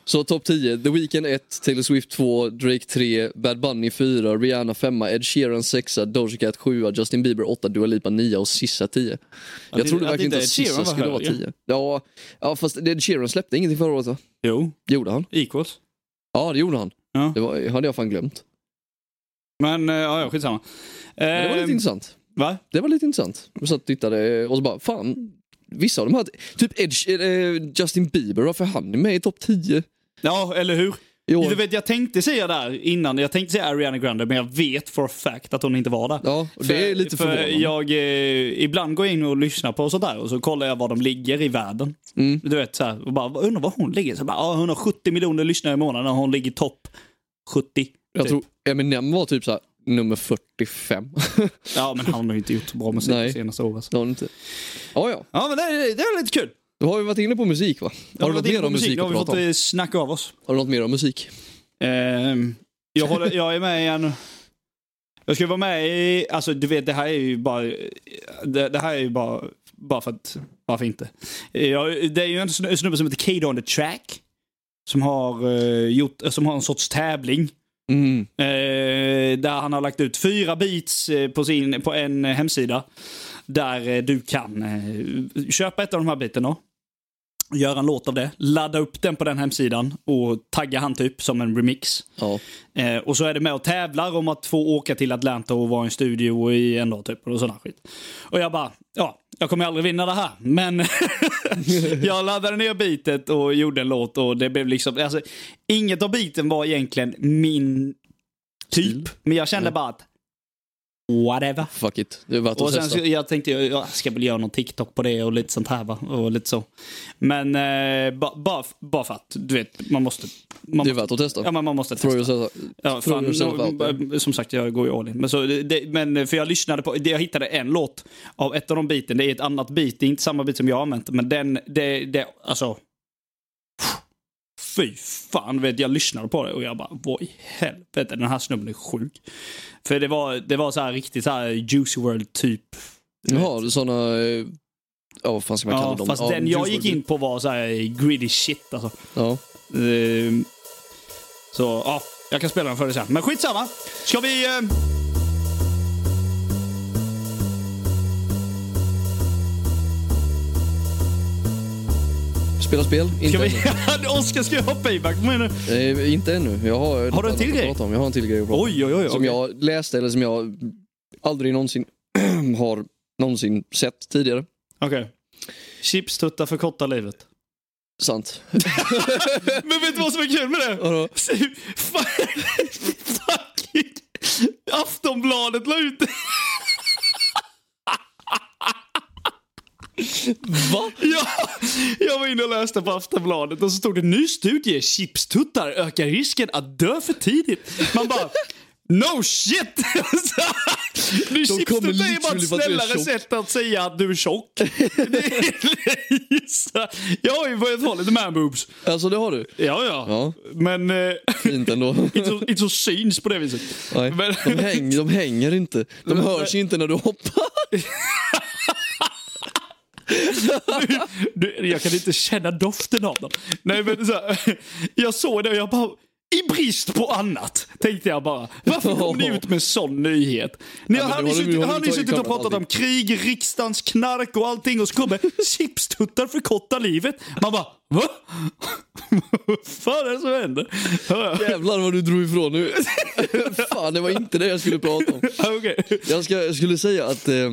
S2: Så topp 10, The Weeknd 1, Taylor Swift 2, Drake 3, Bad Bunny 4, Rihanna 5, Ed Sheeran 6, Doja Cat 7, Justin Bieber 8, Dua Lipa 9 och Sissa 10.
S1: det-
S2: Jag trodde
S1: ja, det är
S2: verkligen
S1: där
S2: inte att
S1: Ed Sheeran
S2: Sissa
S1: var
S2: skulle vara
S1: högre.
S2: 10. Ja, ja fast Ed Sheeran släppte ingenting förra året va?
S1: Jo,
S2: Gjorde han?
S1: equals.
S2: Ja det gjorde han.
S1: Ja.
S2: Det var, hade jag fan glömt.
S1: Men eh, ja, ja, skitsamma.
S2: Men det var lite
S1: Ehm,
S2: intressant.
S1: Va?
S2: Det var lite intressant. Jag satt och tittade och så bara, fan. Vissa av de här, typ Ed, She- eh, Justin Bieber, varför är han med i topp 10?
S1: Ja, eller hur?
S2: I år?
S1: Du vet, jag tänkte säga där innan, jag tänkte säga Ariana Grande, men jag vet for a fact att hon inte var där.
S2: Ja, och det är lite
S1: för
S2: förvånande.
S1: Jag, eh, ibland går jag in och lyssnar på sånt där och så kollar jag var de ligger i världen.
S2: Mm.
S1: Du vet, så här, och bara, undrar var hon ligger? Så bara, ja, 170 miljoner lyssnare i månaden och hon ligger topp 70.
S2: Jag
S1: typ.
S2: tror Eminem var typ så här, nummer 45.
S1: Ja, men han har ju inte gjort bra musik
S2: Nej.
S1: de senaste åren. så.
S2: det har han inte. Ja, ja.
S1: Ja, men det, det var lite kul.
S2: Då har vi varit inne på musik va? Har du något mer om musik
S1: Nu har
S2: att
S1: vi
S2: prata
S1: fått
S2: om?
S1: eh, snacka av oss.
S2: Har du något mer om musik?
S1: Ehm, jag, håller, jag är med i en... Jag ska vara med i... Alltså du vet, det här är ju bara... Det, det här är ju bara... Bara för att... Varför inte? Jag, det är ju en snu- snubbe som heter Kade on the track. Som har, eh, gjort, som har en sorts tävling.
S2: Mm.
S1: Eh, där han har lagt ut fyra beats eh, på, sin, på en eh, hemsida. Där eh, du kan eh, köpa ett av de här bitarna. Göra en låt av det. Ladda upp den på den hemsidan. Och tagga han typ som en remix.
S2: Ja.
S1: Eh, och så är det med och tävlar om att få åka till Atlanta och vara i en studio i en dag typ. Och sån här skit. Och jag bara, ja, jag kommer aldrig vinna det här. Men jag laddade ner bitet och gjorde en låt och det blev liksom, alltså inget av biten var egentligen min typ. Men jag kände bara att, whatever.
S2: Fuck it, det är värt att
S1: Och sen så,
S2: testa.
S1: jag tänkte jag, jag ska väl göra någon TikTok på det och lite sånt här va. Och lite så. Men eh, ba- bara bara för att, du vet, man måste. Man
S2: Det är
S1: måste-
S2: värt att testa.
S1: Ja, men man måste
S2: Throw
S1: testa.
S2: yourself,
S1: Ja,
S2: throw
S1: fan,
S2: yourself out there.
S1: no, som sagt, jag går ju all in. Men, så, det- det, men eh, för jag lyssnade på, det- jag hittade en låt av ett av de biten. Det är ett annat bit, det är inte samma bit som jag har använt. Men den, det, det alltså. Fy fan, vet, jag lyssnade på det och jag bara, vad i helvete, den här snubben är sjuk. För det var, det var så här riktigt så här Juicy World typ.
S2: Jaha, såna... eh, Ja, vad fan ska man kalla
S1: Ja,
S2: dem?
S1: fast
S2: Ja,
S1: den
S2: juice
S1: jag gick
S2: world. typ.
S1: in på var så här greedy shit alltså.
S2: Ja.
S1: Ehm, Så ja, jag kan spela den för dig sen. Men skitsamma. Ska vi... eh,
S2: Spela spel? Inte
S1: Ska vi...
S2: ännu.
S1: Oskar ska jag ha payback menar du?
S2: Eh, inte ännu. Jag har, något annat
S1: du en till
S2: att
S1: grej?
S2: prata om. Jag har en till grej att prata om.
S1: Oj, oj, oj.
S2: Som
S1: okej.
S2: jag läste eller som jag aldrig någonsin har någonsin sett tidigare.
S1: Okej. Chipstuttar förkortar livet.
S2: Sant.
S1: Men vet du vad som är kul med det?
S2: Vadå?
S1: Fucking... Aftonbladet la ut
S2: Va?
S1: Ja, jag var inne och läste på Aftonbladet och så stod det ny studie. Chipstuttar ökar risken att dö för tidigt. Man bara No shit! Nu
S2: kommer
S1: chipstuttar är bara
S2: literally
S1: ett
S2: för att du är
S1: snällare
S2: tjock.
S1: sätt att säga att du är tjock. Det är- så- jag har ju börjat ha lite man boobs.
S2: Alltså det har du?
S1: Ja, ja.
S2: Ja.
S1: Men eh,
S2: Fint ändå.
S1: inte, så, inte så syns på det viset.
S2: Nej,
S1: Men-
S2: de, häng, de hänger inte. De hörs inte när du hoppar.
S1: Du, jag kan inte känna doften av dem. Nej, men så här, jag såg det och jag bara... I brist på annat, tänkte jag bara. Varför kom ni ut med sån nyhet? Ni
S2: Ja, men
S1: har
S2: nu
S1: ni
S2: har de ju-
S1: suttit,
S2: har
S1: har
S2: de
S1: ni
S2: tagit
S1: suttit och
S2: fram
S1: pratat om
S2: allting.
S1: krig, riksdagens knark och allting och så kommer chipstuttar förkorta livet. Man bara, va? Vad fan är det som händer? Ja,
S2: Jävlar vad du drog ifrån nu. Fan, det var inte det jag skulle prata om.
S1: ja, okej.
S2: Jag, ska, jag skulle säga att... Eh,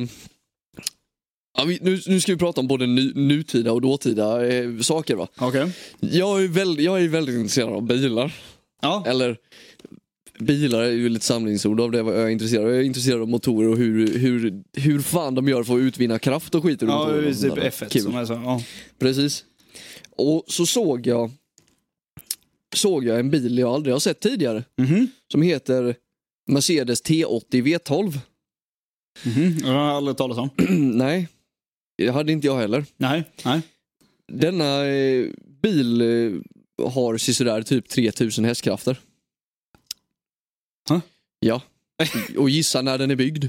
S2: ja, vi, nu, nu ska vi prata om både nu, nutida och dåtida eh, saker. Va?
S1: Okej.
S2: Jag, är väl, jag är väldigt intresserad av bilar.
S1: Ja.
S2: Eller, bilar är ju lite samlingsord av det vad jag är intresserad av. Jag är intresserad av motorer och hur, hur, hur fan de gör för att utvinna kraft och skit ur
S1: Ja,
S2: motorerna och
S1: typ
S2: sånt där.
S1: F1
S2: Kul.
S1: som är så. Ja.
S2: Precis. Och så såg jag såg jag en bil jag aldrig har sett tidigare.
S1: Mhm.
S2: Som heter Mercedes T80 V12.
S1: Mhm. Det har jag aldrig talat om.
S2: Nej, det hade inte jag heller.
S1: Nej, nej.
S2: Denna eh, bil eh, har sisådär typ 3000 hästkrafter.
S1: Huh?
S2: Ja. Och gissa när den är byggd.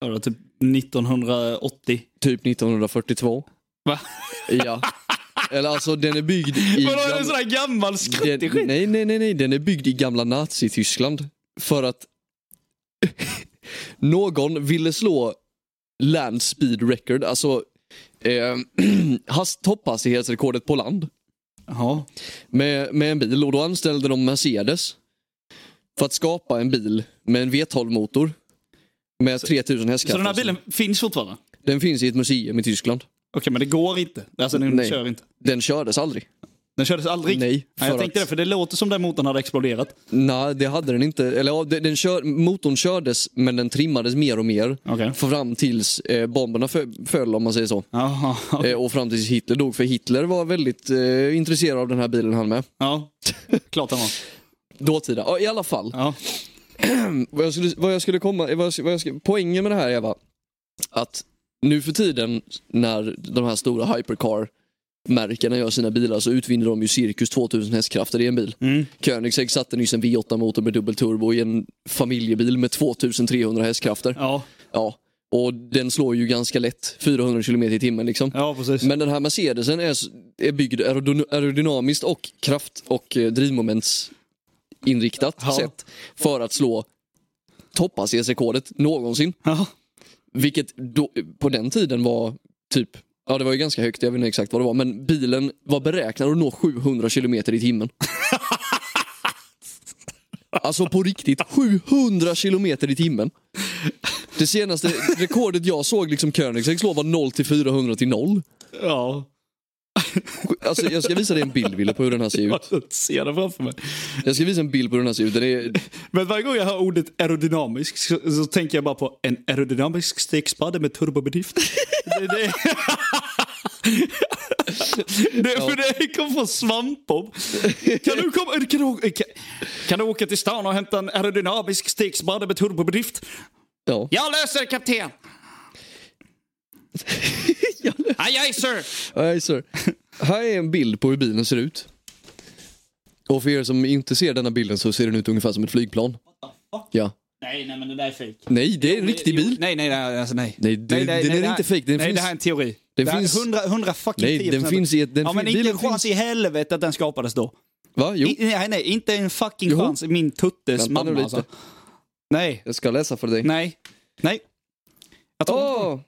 S1: Ja, det var typ 1980.
S2: Typ 1942.
S1: Va?
S2: Ja. Eller alltså den är byggd i...
S1: Vadå, är det
S2: gam-
S1: en sån där gammal skruttig
S2: den,
S1: skit?
S2: nej, nej, nej, nej. Den är byggd i gamla Nazityskland. För att någon ville slå land speed record, alltså eh, has- topphastighetsrekordet på land
S1: Jaha.
S2: med, med en bil och då anställde de Mercedes för att skapa en bil med en V12-motor med 3000 hästkrafter.
S1: Så den här bilen finns fortfarande? Okej,
S2: Den finns i ett museum i Tyskland.
S1: men det går inte. Alltså den
S2: Nej.
S1: kör inte.
S2: Den kördes aldrig.
S1: Den kördes aldrig?
S2: Nej,
S1: Nej jag
S2: för
S1: tänkte
S2: att-
S1: det, för det låter som den motorn hade exploderat.
S2: Nej, det hade den inte. Eller ja, den, den kör, motorn kördes men den trimmades mer och mer.
S1: Okej.
S2: Fram tills eh, bomberna fö- föll om man säger så.
S1: Jaha.
S2: Eh, och fram tills Hitler dog. För Hitler var väldigt eh, intresserad av den här bilen han med.
S1: Ja,
S2: Eh.
S1: klart han var.
S2: Dåtida. Ja, I alla fall.
S1: Ja.
S2: Vad jag skulle, vad jag skulle komma, vad jag, skulle- vad jag skulle, poängen med det här Eva, att nu för tiden när de här stora hypercar-märkena gör sina bilar så utvinner de ju cirkus 2000 hästkrafter i en bil.
S1: Mm.
S2: Koenigsegg satte nyss en V8-motor med dubbelturbo i en familjebil med 2300 hästkrafter.
S1: Ja.
S2: Ja, och den slår ju ganska lätt 400 km i timmen liksom.
S1: ja, precis.
S2: Men den här Mercedesen är, s- är byggd aerodyn- aerodynamiskt och kraft och eh, drivmomentsinriktat
S1: Ja.
S2: sätt för att slå topphastighetsrekordet någonsin.
S1: Ja.
S2: Vilket då, på den tiden var typ, ja det var ju ganska högt, jag vet inte exakt vad det var, men bilen var beräknad att nå 700 km i timmen. Alltså på riktigt, 700 km i timmen. Det senaste rekordet jag såg liksom Koenigsegg slå var 0 till 400 till 0.
S1: ja.
S2: Alltså, jag ska visa dig en bild Wille, på hur den här ser ut.
S1: Jag ser det framför mig.
S2: Jag ska visa en bild på hur den här ser ut. Den är,
S1: Men varje gång jag hör ordet aerodynamisk så, så tänker jag bara på en aerodynamisk stekspadde med turbobedrift. det, det, det, för det kom från svampbob. Kan du, komma, kan, du, kan, kan du åka till stan och hämta en aerodynamisk stekspadde med turbobedrift?
S2: ja.
S1: Jag löser det, kapten! Aj, aj, sir!
S2: Nej, sir. Här är en bild på hur bilen ser ut. Och för er som inte ser denna bilden så ser den ut ungefär som ett flygplan. Ja.
S1: Nej, nej, men det där är fejk.
S2: Nej, det är en riktig bil.
S1: Nej, nej, nej, alltså nej.
S2: Nej, det- den är
S1: det här-
S2: inte fake, den
S1: nej,
S2: finns-
S1: det här är en teori.
S2: Den
S1: det här är
S2: finns-
S1: 100, 100 fucking
S2: Nej,
S1: 10%.
S2: den finns i ett- den
S1: ja, men
S2: fin-
S1: inte en
S2: bilen
S1: chans i helvete att den skapades då.
S2: Va? Jo,
S1: I, nej, nej, inte en fucking
S2: Jo.
S1: chans i min tuttes
S2: Vänta nu
S1: mamma
S2: lite.
S1: alltså. Nej,
S2: jag ska läsa för dig.
S1: nej, nej. Jag tror inte-
S2: Åh!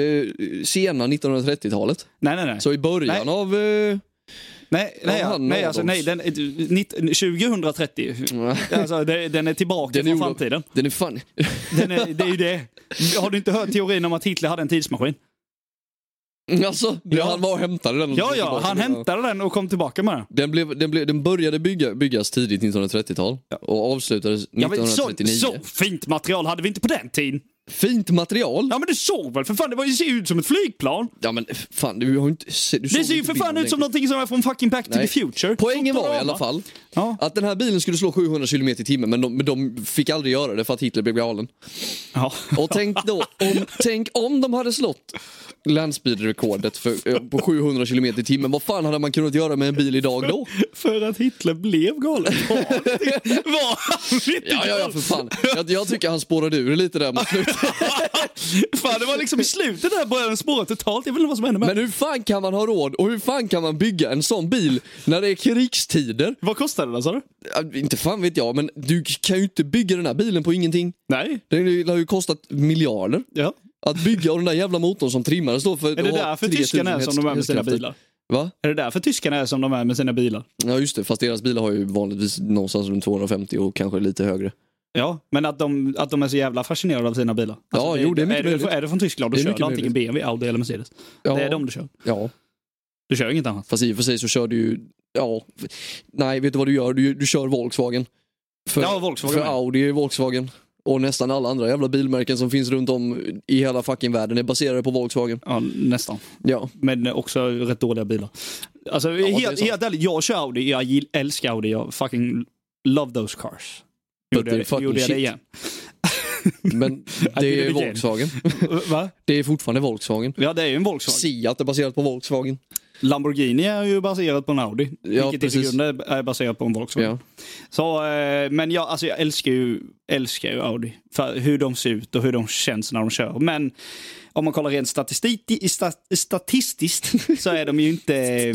S2: Eh, sena 1930-talet.
S1: Nej, nej, nej.
S2: Så i början
S1: Nej.
S2: av... eh,
S1: nej, nej,
S2: Ja,
S1: ja,
S2: han
S1: nej,
S2: har
S1: alltså,
S2: dem.
S1: nej den, eh, nitt- 2030. Alltså, det, den är tillbaka
S2: Den är
S1: från
S2: gjord av-
S1: framtiden.
S2: Den är fan...
S1: Den är, det är ju det. Har du inte hört teorin om att Hitler hade en tidsmaskin?
S2: Alltså, det-
S1: Ja.
S2: han var och hämtade den. och
S1: Ja,
S2: tog
S1: ja,
S2: tillbaka
S1: han
S2: den.
S1: hämtade den och kom tillbaka med den.
S2: Den, blev, den, blev, den började bygga, byggas tidigt 1930-tal och avslutades
S1: Ja, men så,
S2: 1939.
S1: så fint material hade vi inte på den tiden.
S2: Fint material!
S1: Ja men du såg väl för fan, det var ju- ser ju ut som ett flygplan.
S2: Ja men fan, du har ju inte se- du
S1: Det
S2: såg
S1: ser ju
S2: inte
S1: för fan
S2: bilden
S1: ut som
S2: längre.
S1: någonting som är från fucking Back to
S2: Nej.
S1: the Future.
S2: Poängen var i
S1: Fotorama.
S2: alla fall
S1: Ja.
S2: att den här bilen skulle slå 700 km i timmen men de, men de fick aldrig göra det för att Hitler blev galen.
S1: Ja.
S2: Och tänk då, om, tänk om de hade slått landspeedrekordet för- eh, på 700 km i timmen, vad fan hade man kunnat göra med en bil idag då?
S1: För att Hitler blev galen. Var han inte- Var han inte
S2: Ja, ja, ja
S1: galen?
S2: för fan. Jag, jag tycker han spårade ur lite där mot slutet.
S1: Fan det var liksom i slutet där började den spåra totalt. Jag vet inte vad som hände med
S2: Men hur fan kan man ha råd och hur fan kan man bygga en sån bil när det är krigstider?
S1: Vad kostade den sa du?
S2: Äh, Inte fan vet jag, men du kan ju inte bygga den här bilen på ingenting.
S1: Nej.
S2: Den har ju kostat miljarder.
S1: Ja.
S2: Att bygga och den där jävla motorn som trimmades då för
S1: Är det därför tyskarna är som de är med sina bilar?
S2: Va?
S1: Är det därför tyskarna är som de är med sina bilar?
S2: Ja just det, fast deras bilar har ju vanligtvis någonstans runt 250 och kanske lite högre.
S1: Ja, men att de, att de är så jävla fascinerade av sina bilar. Alltså,
S2: Ja, jo, det är mycket
S1: är, du,
S2: möjligt.
S1: är du från Tyskland, då
S2: Det är
S1: kör
S2: mycket
S1: du antingen BMW, Audi eller Mercedes.
S2: Ja,
S1: Det är de du kör.
S2: ja.
S1: Du kör inget annat.
S2: fast i och för sig så kör du ju... Ja, nej, vet du vad du gör? Du, du kör Volkswagen. För,
S1: Ja, Volkswagen
S2: för
S1: med.
S2: Audi är Volkswagen. Och nästan alla andra jävla bilmärken som finns runt om i hela fucking världen är baserade på Volkswagen.
S1: Ja, nästan.
S2: Ja.
S1: Men också rätt dåliga bilar. Alltså,
S2: det är
S1: helt,
S2: sant.
S1: helt ärligt, jag kör Audi, jag gill- älskar Audi, jag fucking love those cars.
S2: But
S1: Gjorde jag,
S2: they're fucking
S1: gjorde jag det
S2: shit.
S1: igen?
S2: Men det är
S1: det igen.
S2: Volkswagen.
S1: Va?
S2: Det är fortfarande Volkswagen.
S1: Ja, det är ju en Volkswagen.
S2: Seat är baserat på Volkswagen.
S1: Lamborghini är ju baserat på en Audi, vilket i
S2: precis.
S1: grunden är baserat på en Volkswagen.
S2: Ja.
S1: Så, eh, men jag, alltså, jag älskar, ju, älskar ju Audi. För hur de ser ut och hur de känns när de kör. Men om man kollar rent statisti- sta, statistiskt så är de ju inte... eh,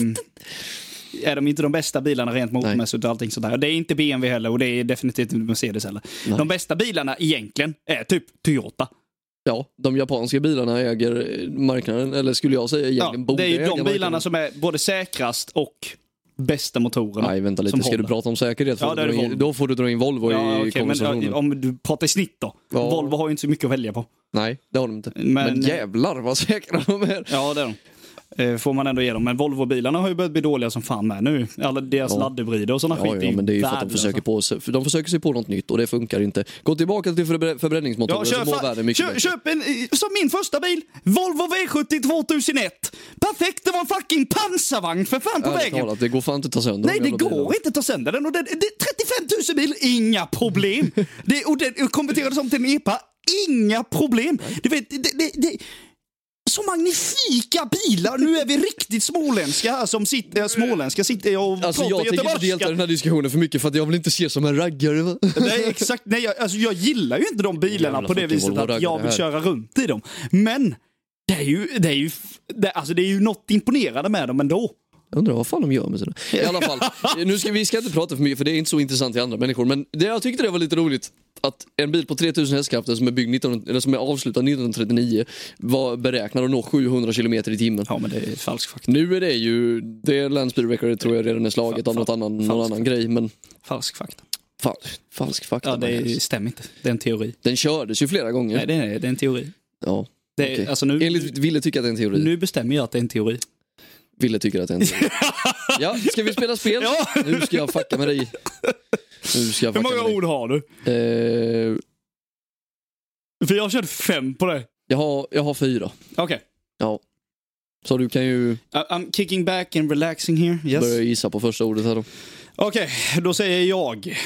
S1: Är de inte de bästa bilarna rent motormässigt och allting sådär. Det är inte BMW heller och det är definitivt inte Mercedes heller.
S2: Nej.
S1: De bästa bilarna egentligen är typ Toyota.
S2: Ja, de japanska bilarna äger eh, marknaden, eller skulle jag säga egentligen
S1: Ja,
S2: borde
S1: det är ju
S2: äga
S1: de bilarna som är både säkrast och bästa motorerna.
S2: Nej, vänta lite.
S1: som
S2: Ska
S1: håller.
S2: du prata om säkerhet
S1: Ja,
S2: får
S1: det
S2: du
S1: är
S2: dra in,
S1: Volvo.
S2: då får du dra in Volvo
S1: Ja,
S2: i
S1: okej, men,
S2: konversationen.
S1: ja, om du pratar i snitt då.
S2: Ja.
S1: Volvo har ju inte så mycket att välja på.
S2: Nej, det har de inte. Men,
S1: Men-
S2: jävlar vad säkra de är.
S1: Ja, det är de. Eh, Får man ändå ge dem. Men Volvo-bilarna har ju börjat bli dåliga som fan med nu. Alla deras
S2: Ja.
S1: laddhybrider och sådana
S2: Ja,
S1: skit alltså.
S2: ja, men det är ju för att de
S1: värdelösa.
S2: försöker, på sig, för de försöker sig på något nytt och det funkar inte. Gå tillbaka till förbre- förbränningsmotorer
S1: Ja,
S2: så
S1: köp,
S2: mår världen mycket
S1: köp,
S2: bättre.
S1: köp en, eh, som min första bil, Volvo V70 2001. Perfekt, det var en fucking pansarvagn för fan på
S2: Ärligt
S1: vägen.
S2: talat, det går fan inte att ta sönder de
S1: Nej, det
S2: jävla bilarna.
S1: går inte att ta sönder den. Och det, det, 35 000 mil, inga problem. Det, och den konverterades om till en EPA, inga problem. Du vet, det, det, det, så magnifika bilar. Nu är vi riktigt småländska här som sitter, äh, småländska sitter jag och
S2: Alltså
S1: pratar
S2: jag tänker inte delta i den
S1: göteborgska.
S2: här diskussionen för mycket för att jag vill inte se som en raggare. va?
S1: Nej, exakt. Nej, jag, alltså, jag gillar ju inte de bilarna
S2: Jävla
S1: på det
S2: fucking
S1: viset
S2: Volvo-raggare
S1: att jag
S2: här.
S1: vill köra runt i dem. Men det är ju, det är ju, f- det, alltså, det är ju något imponerande med dem ändå.
S2: Jag undrar vad fan de gör med sina... I alla fall, nu ska, vi ska inte prata för mycket för det är inte så intressant till andra människor. Men det, jag tyckte det var lite roligt att en bil på 3000 hästkrafter som är, byggd 19, eller som är avslutad 1939 var beräknad att nå 700 km i timmen.
S1: Ja, men det är falsk fakta.
S2: Nu är det ju, det är Landspeed Record tror jag redan är slaget av något annan, någon
S1: falskt.
S2: annan grej. Men
S1: Falsk fakta.
S2: fa, falsk fakta.
S1: Ja, det
S2: Magnus.
S1: stämmer inte. Det är en teori.
S2: Den kördes ju flera gånger.
S1: Nej, det är, det är en teori.
S2: ja,
S1: Det är,
S2: okej.
S1: alltså nu,
S2: Enligt Ville tycker att det är en teori.
S1: nu bestämmer jag att det är en teori.
S2: Ville tycker att det är en teori. ja, ska vi spela spel?
S1: Ja.
S2: Nu ska jag fucka med dig. Nu ska jag
S1: Hur
S2: fucka med
S1: många
S2: dig.
S1: ord har du?
S2: Eh,
S1: För jag har kört fem på det.
S2: jag, har, jag har fyra.
S1: Okej.
S2: Ja. Så du kan ju
S1: I- I'm kicking back and relaxing here.
S2: börja
S1: Yes.
S2: gissa på första ordet här då.
S1: Okej, då säger jag...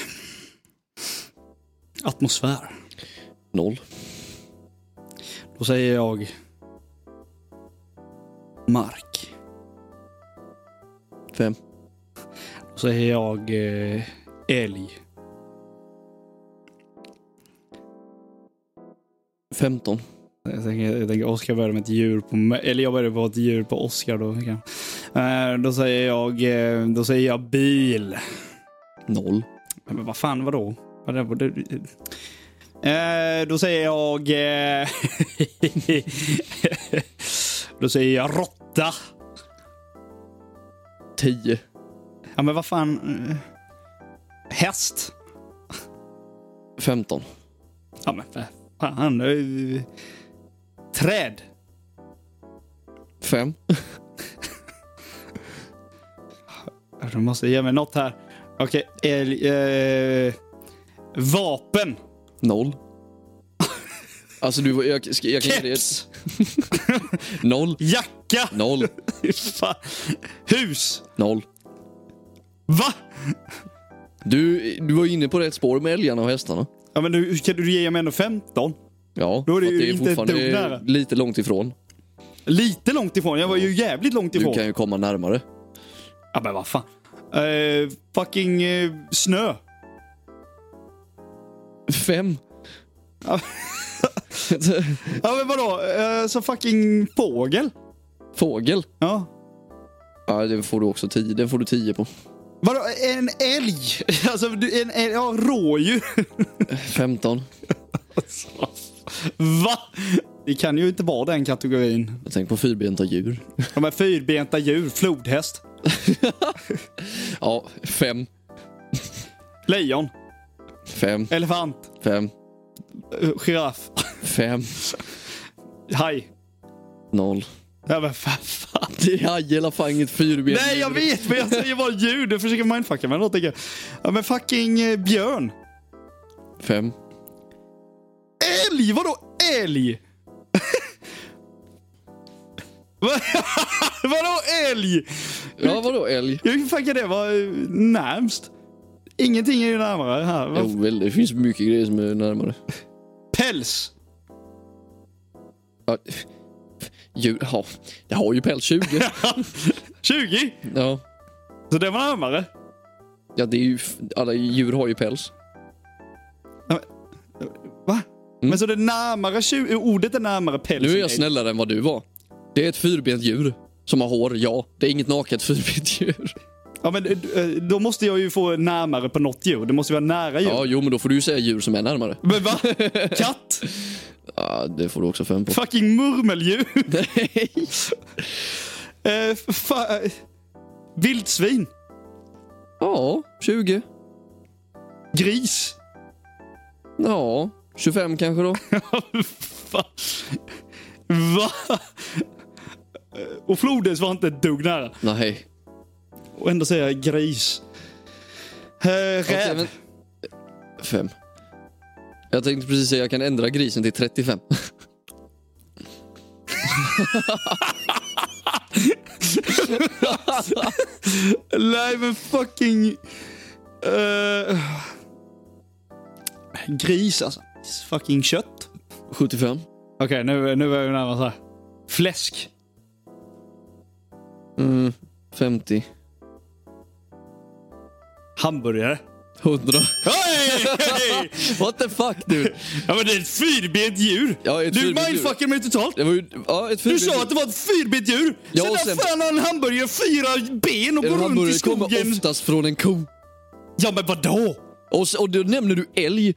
S1: Atmosfär.
S2: Noll.
S1: Då säger jag... Mark.
S2: Fem.
S1: Då säger jag... Eh, älg.
S2: Femton.
S1: Jag tänker, jag tänker Oskar började med ett djur på mig. Eller jag började på ett djur på Oskar då. Eh, då säger jag... eh, Då säger jag bil.
S2: Noll.
S1: Ja, Men vad fan, vadå? Vad det, vad det, eh, då säger jag... Eh, då säger jag råtta.
S2: Tio.
S1: Ja, men vad fan... eh, Häst.
S2: Femton.
S1: Ja, men vad fan. eh, Träd.
S2: Fem.
S1: Du måste ge mig något här. Okej, älg... Eh, vapen.
S2: Noll. Alltså du, jag, ska- jag kan ge dig ett-
S1: Keps.
S2: Noll.
S1: Jacka.
S2: Noll.
S1: Fan. Hus.
S2: Noll.
S1: Va?
S2: Du, du var inne på rätt spår med älgarna och hästarna.
S1: Ja, men nu kan du ge mig ändå 15?
S2: Ja,
S1: Då är det
S2: för att
S1: ju inte ett
S2: fortfarande
S1: dugg nära.
S2: lite långt ifrån.
S1: Lite långt ifrån. Jag var ju jävligt långt
S2: Du
S1: ifrån.
S2: kan ju komma närmare.
S1: Ja, men vad fan. Eh, fucking eh, snö.
S2: Fem.
S1: Ja, men vadå? Eh, så fucking fågel?
S2: Fågel.
S1: Ja.
S2: Ja, det får du också tio. Den får du tio på.
S1: Vadå? En älg? Alltså, du, en älg? Ja, rådjur.
S2: Femton.
S1: Va? Det kan ju inte vara den kategorin.
S2: Jag tänker på fyrbenta djur.
S1: De här fyrbenta djur. Flodhäst.
S2: Ja, fem.
S1: Lejon.
S2: Fem.
S1: Elefant.
S2: Fem.
S1: eh, Giraff.
S2: Fem.
S1: Haj.
S2: Noll.
S1: Ja, men fan, fan.
S2: Det är haj eller fan inget fyrbent
S1: Nej, jag vet, men jag säger bara djur. Du försöker mindfucka mig. då, tänker jag. Ja, men fucking eh, björn.
S2: Fem.
S1: Älg? Vadå älg? Va- vadå älg?
S2: Ja, vadå älg?
S1: Hur fan kan det vara eh, närmst? Ingenting är ju närmare här. Va-
S2: Jo, väl, det finns mycket grejer som är närmare.
S1: Päls?
S2: Ja. Djur, ja. Jag har ju päls 20.
S1: 20?
S2: Ja.
S1: Så det var närmare?
S2: Ja, det är ju... Alla djur har ju päls.
S1: Va? Men så det är närmare tju- ordet Mm. är närmare päls.
S2: Nu är
S1: än
S2: jag
S1: ägg.
S2: snällare än vad du var. Det är ett fyrbent djur som har hår, ja. Det är inget naket fyrbent djur.
S1: Ja, men, eh, då måste jag ju få närmare på något djur. Det måste ju vara nära djur.
S2: Ja, jo, men då får du ju säga djur som är närmare.
S1: Men va? Katt?
S2: Ja, det får du också fem på.
S1: Fucking murmeldjur?
S2: Nej.
S1: Eh, fa- eh, vildsvin?
S2: Ja, 20.
S1: Gris?
S2: Ja, 25 kanske då.
S1: Va? Va? Eh, Och flodhäst var inte ett dugg nära.
S2: Nej.
S1: Och ändå säger jag gris. Eh, räv?
S2: Okej, men... Fem. Jag tänkte precis säga jag kan ändra grisen till 35.
S1: Nej men fucking... eh, gris alltså. Fucking kött.
S2: 75.
S1: Okej, nu, nu är vi närmast här. Fläsk.
S2: Mm, 50.
S1: Hamburgare.
S2: 100.
S1: Hej! hej!
S2: What the fuck dude?
S1: ja men det är ett fyrbent djur.
S2: Ja, ett
S1: du
S2: fyrbent djur.
S1: mindfuckar mig totalt.
S2: Det var ju... Ja, ett
S1: Du
S2: fyrbent
S1: sa att det var ett fyrbent djur.
S2: Ja,
S1: sen
S2: och
S1: där
S2: sen-
S1: fan har en hamburgare fyra ben och
S2: En
S1: går runt i
S2: hamburgare kommer
S1: skogen.
S2: oftast från en ko.
S1: Ja men vadå?
S2: Och, s- och då nämner du älg.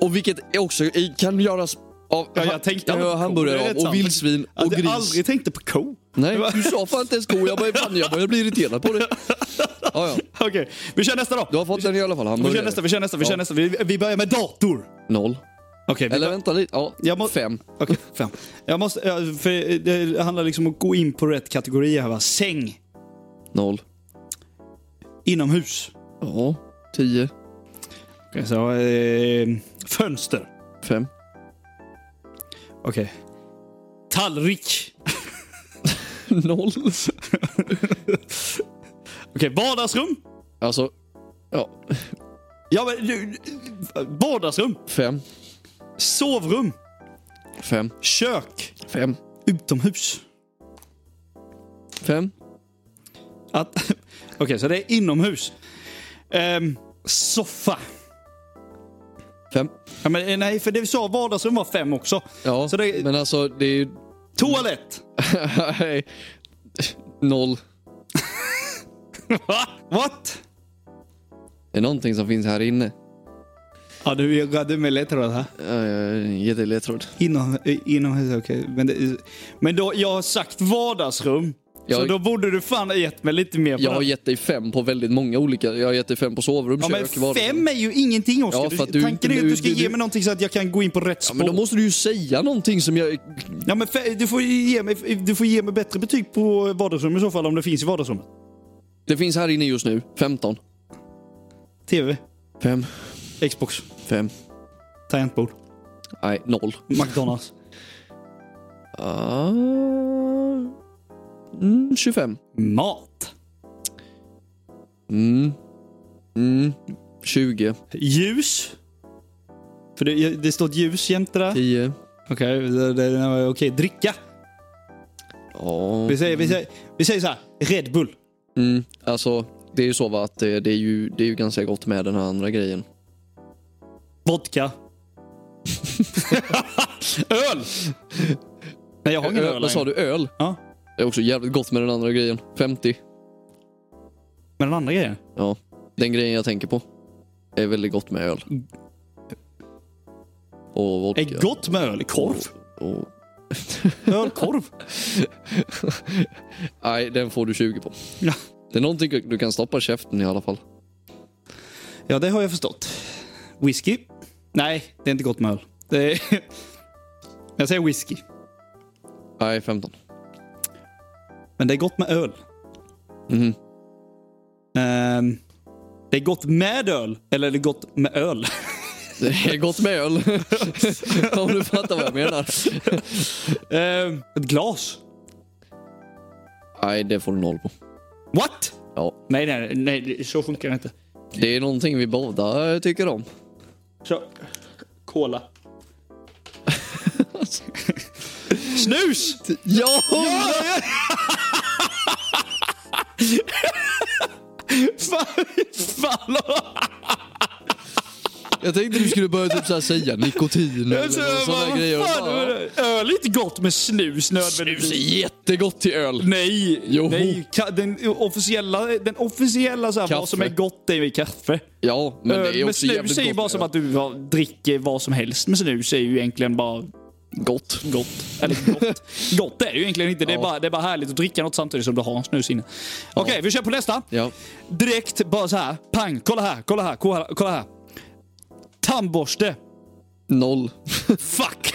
S2: Och vilket också i- kan göras av
S1: Ja, jag tänkte aldrig
S2: ha-
S1: på ko, det är
S2: hamburgare
S1: rätt
S2: av, och
S1: sant.
S2: vildsvin
S1: Att
S2: och gris.
S1: Jag aldrig tänkte på ko.
S2: Nej, du sa fan inte ens ko. Jag bara, fan, jag, bara, jag blir irriterad på det. Ja, ja.
S1: Okej, vi kör nästa då.
S2: Du har fått den i alla fall,
S1: vi
S2: hamburgare.
S1: kör nästa, vi kör nästa, vi kör
S2: Ja.
S1: nästa. Vi, vi börjar med dator.
S2: Noll.
S1: Okej, vi
S2: Eller
S1: bör-
S2: vänta lite. Ja,
S1: Jag må-
S2: fem.
S1: Okej, fem. Jag måste, ja, för det handlar liksom om att gå in på rätt kategori här va. Säng.
S2: Noll.
S1: Inomhus.
S2: Ja, tio.
S1: Okej, så, eh, fönster.
S2: Fem.
S1: Okej. Tallrik.
S2: Noll.
S1: Okej, vardagsrum.
S2: Alltså, ja,
S1: Ja, men, du- vardagsrum.
S2: fem.
S1: Sovrum.
S2: Fem.
S1: Kök.
S2: Fem.
S1: Utomhus.
S2: Fem.
S1: Att, Okej, så det är inomhus. Ehm, soffa.
S2: Fem.
S1: Ja, men, eh, nej, för det vi sa vardagsrum var fem också.
S2: Ja,
S1: Så det-
S2: men alltså det är ju...
S1: Toalett.
S2: Nej. Noll.
S1: Va? What?
S2: Det är någonting som finns här inne.
S1: Ja, du hade med ledtråd här.
S2: Uh, Jätteledtråd.
S1: Inom, eh, inomhus, okej. Men, det- men då, jag har sagt vardagsrum. Så
S2: Jag-
S1: då borde du fan ha gett mig lite mer på
S2: Jag har
S1: det.
S2: gett dig fem på väldigt många olika. Jag har gett dig fem på sovrum,
S1: Ja, men
S2: kök, vardagsrum.
S1: fem är ju ingenting Oskar.
S2: Ja, för att
S1: du,
S2: du
S1: tanken
S2: inte-
S1: är ju att du ska
S2: du-
S1: ge
S2: du-
S1: mig någonting så att jag kan gå in på rätt
S2: Ja,
S1: spår.
S2: men då måste du ju säga någonting som jag...
S1: Ja, men fe- du, får ju ge mig, du får ge mig bättre betyg på vardagsrum i så fall om det finns i vardagsrummet.
S2: Det finns här inne just nu. 15.
S1: TV,
S2: Fem.
S1: Xbox,
S2: Fem.
S1: tangentbord,
S2: Nej, noll.
S1: McDonalds.
S2: Ah. Mm, 25.
S1: Mat.
S2: Mm. Mm. 20.
S1: Ljus. För det, det står ett ljus jämte där.
S2: 10.
S1: Okej, det- det- okej. Dricka.
S2: Ja.
S1: Vi säger, vi, säger, vi säger så här. Red Bull.
S2: Mm. Alltså, det är ju så va att det, det, är ju, det är ju ganska gott med den här andra grejen.
S1: Vodka. öl! Nej, jag har ingen öl.
S2: Ö- vad sa
S1: längre.
S2: du? Öl?
S1: Ja,
S2: Det är också jävligt gott med den andra grejen. 50.
S1: men den andra grejen.
S2: Ja. Den grejen jag tänker på är väldigt gott med öl. Och vodka.
S1: Är gott med öl. Korv.
S2: Och...
S1: Ölkorv.
S2: Nej, den får du 20 på.
S1: Ja.
S2: Det är någonting du kan stoppa i käften i alla fall.
S1: Ja, det har jag förstått. Whisky? Nej, det är inte gott med öl. Det är... Jag säger whisky,
S2: Nej, 15.
S1: men det är gott med öl.
S2: Mhm.
S1: Ehm, det är gott med öl, eller är det gott med öl?
S2: Det är gott med öl. Om du fattar vad jag menar.
S1: Ehm, ett glas?
S2: Nej, det får du noll på.
S1: What?
S2: Ja.
S1: Nej, nej, nej, det- så funkar det inte.
S2: Det är någonting vi båda tycker om.
S1: Så. Cola. Snus!
S2: Ja!
S1: Fan, fan.
S2: Jag tänkte du skulle börja typ så här säga nikotin eller
S1: Alltså,
S2: någon sån där
S1: vad
S2: grejer.
S1: fan är
S2: Bara,
S1: det? Öl är inte gott med snus nödvändigtvis.
S2: Snus är jättegott till öl.
S1: Nej,
S2: Jo.
S1: nej ka- den officiella, den officiella så här,
S2: Kaffe.
S1: vad som är gott är ju kaffe.
S2: Ja, men det är
S1: Öl med
S2: också
S1: snus
S2: jävligt
S1: är ju
S2: gott.
S1: bara
S2: med
S1: som
S2: öl.
S1: att du har- dricker vad som helst med snus är ju egentligen bara
S2: Gott.
S1: gott. Eller gott. gott är ju egentligen inte. Det är,
S2: Ja.
S1: bara, det är bara härligt att dricka något samtidigt som du har en snus inne. Okej, vi kör på nästa.
S2: Ja.
S1: Direkt bara så här. Pang, kolla här, kolla här, kolla, kolla här. Tandborste.
S2: Noll.
S1: Fuck!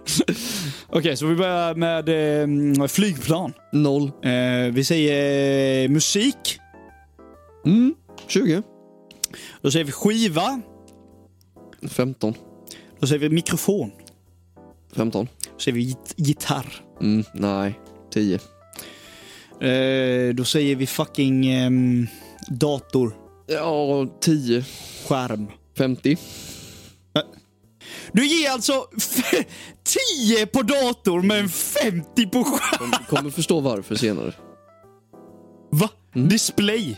S1: Okej, så vi börjar med eh, mm, flygplan.
S2: Noll.
S1: Eh, vi säger eh, musik.
S2: Mm. 20.
S1: Då säger vi skiva.
S2: 15.
S1: Då säger vi mikrofon.
S2: 15.
S1: Då säger vi git- gitarr.
S2: Mm, nej. 10.
S1: Eh, då säger vi fucking ehm, dator.
S2: Ja, 10.
S1: Skärm.
S2: 50.
S1: Du ger alltså f- 10 på dator men 50 på skärm.
S2: Du kommer förstå varför senare.
S1: Va?
S2: Mm.
S1: Display.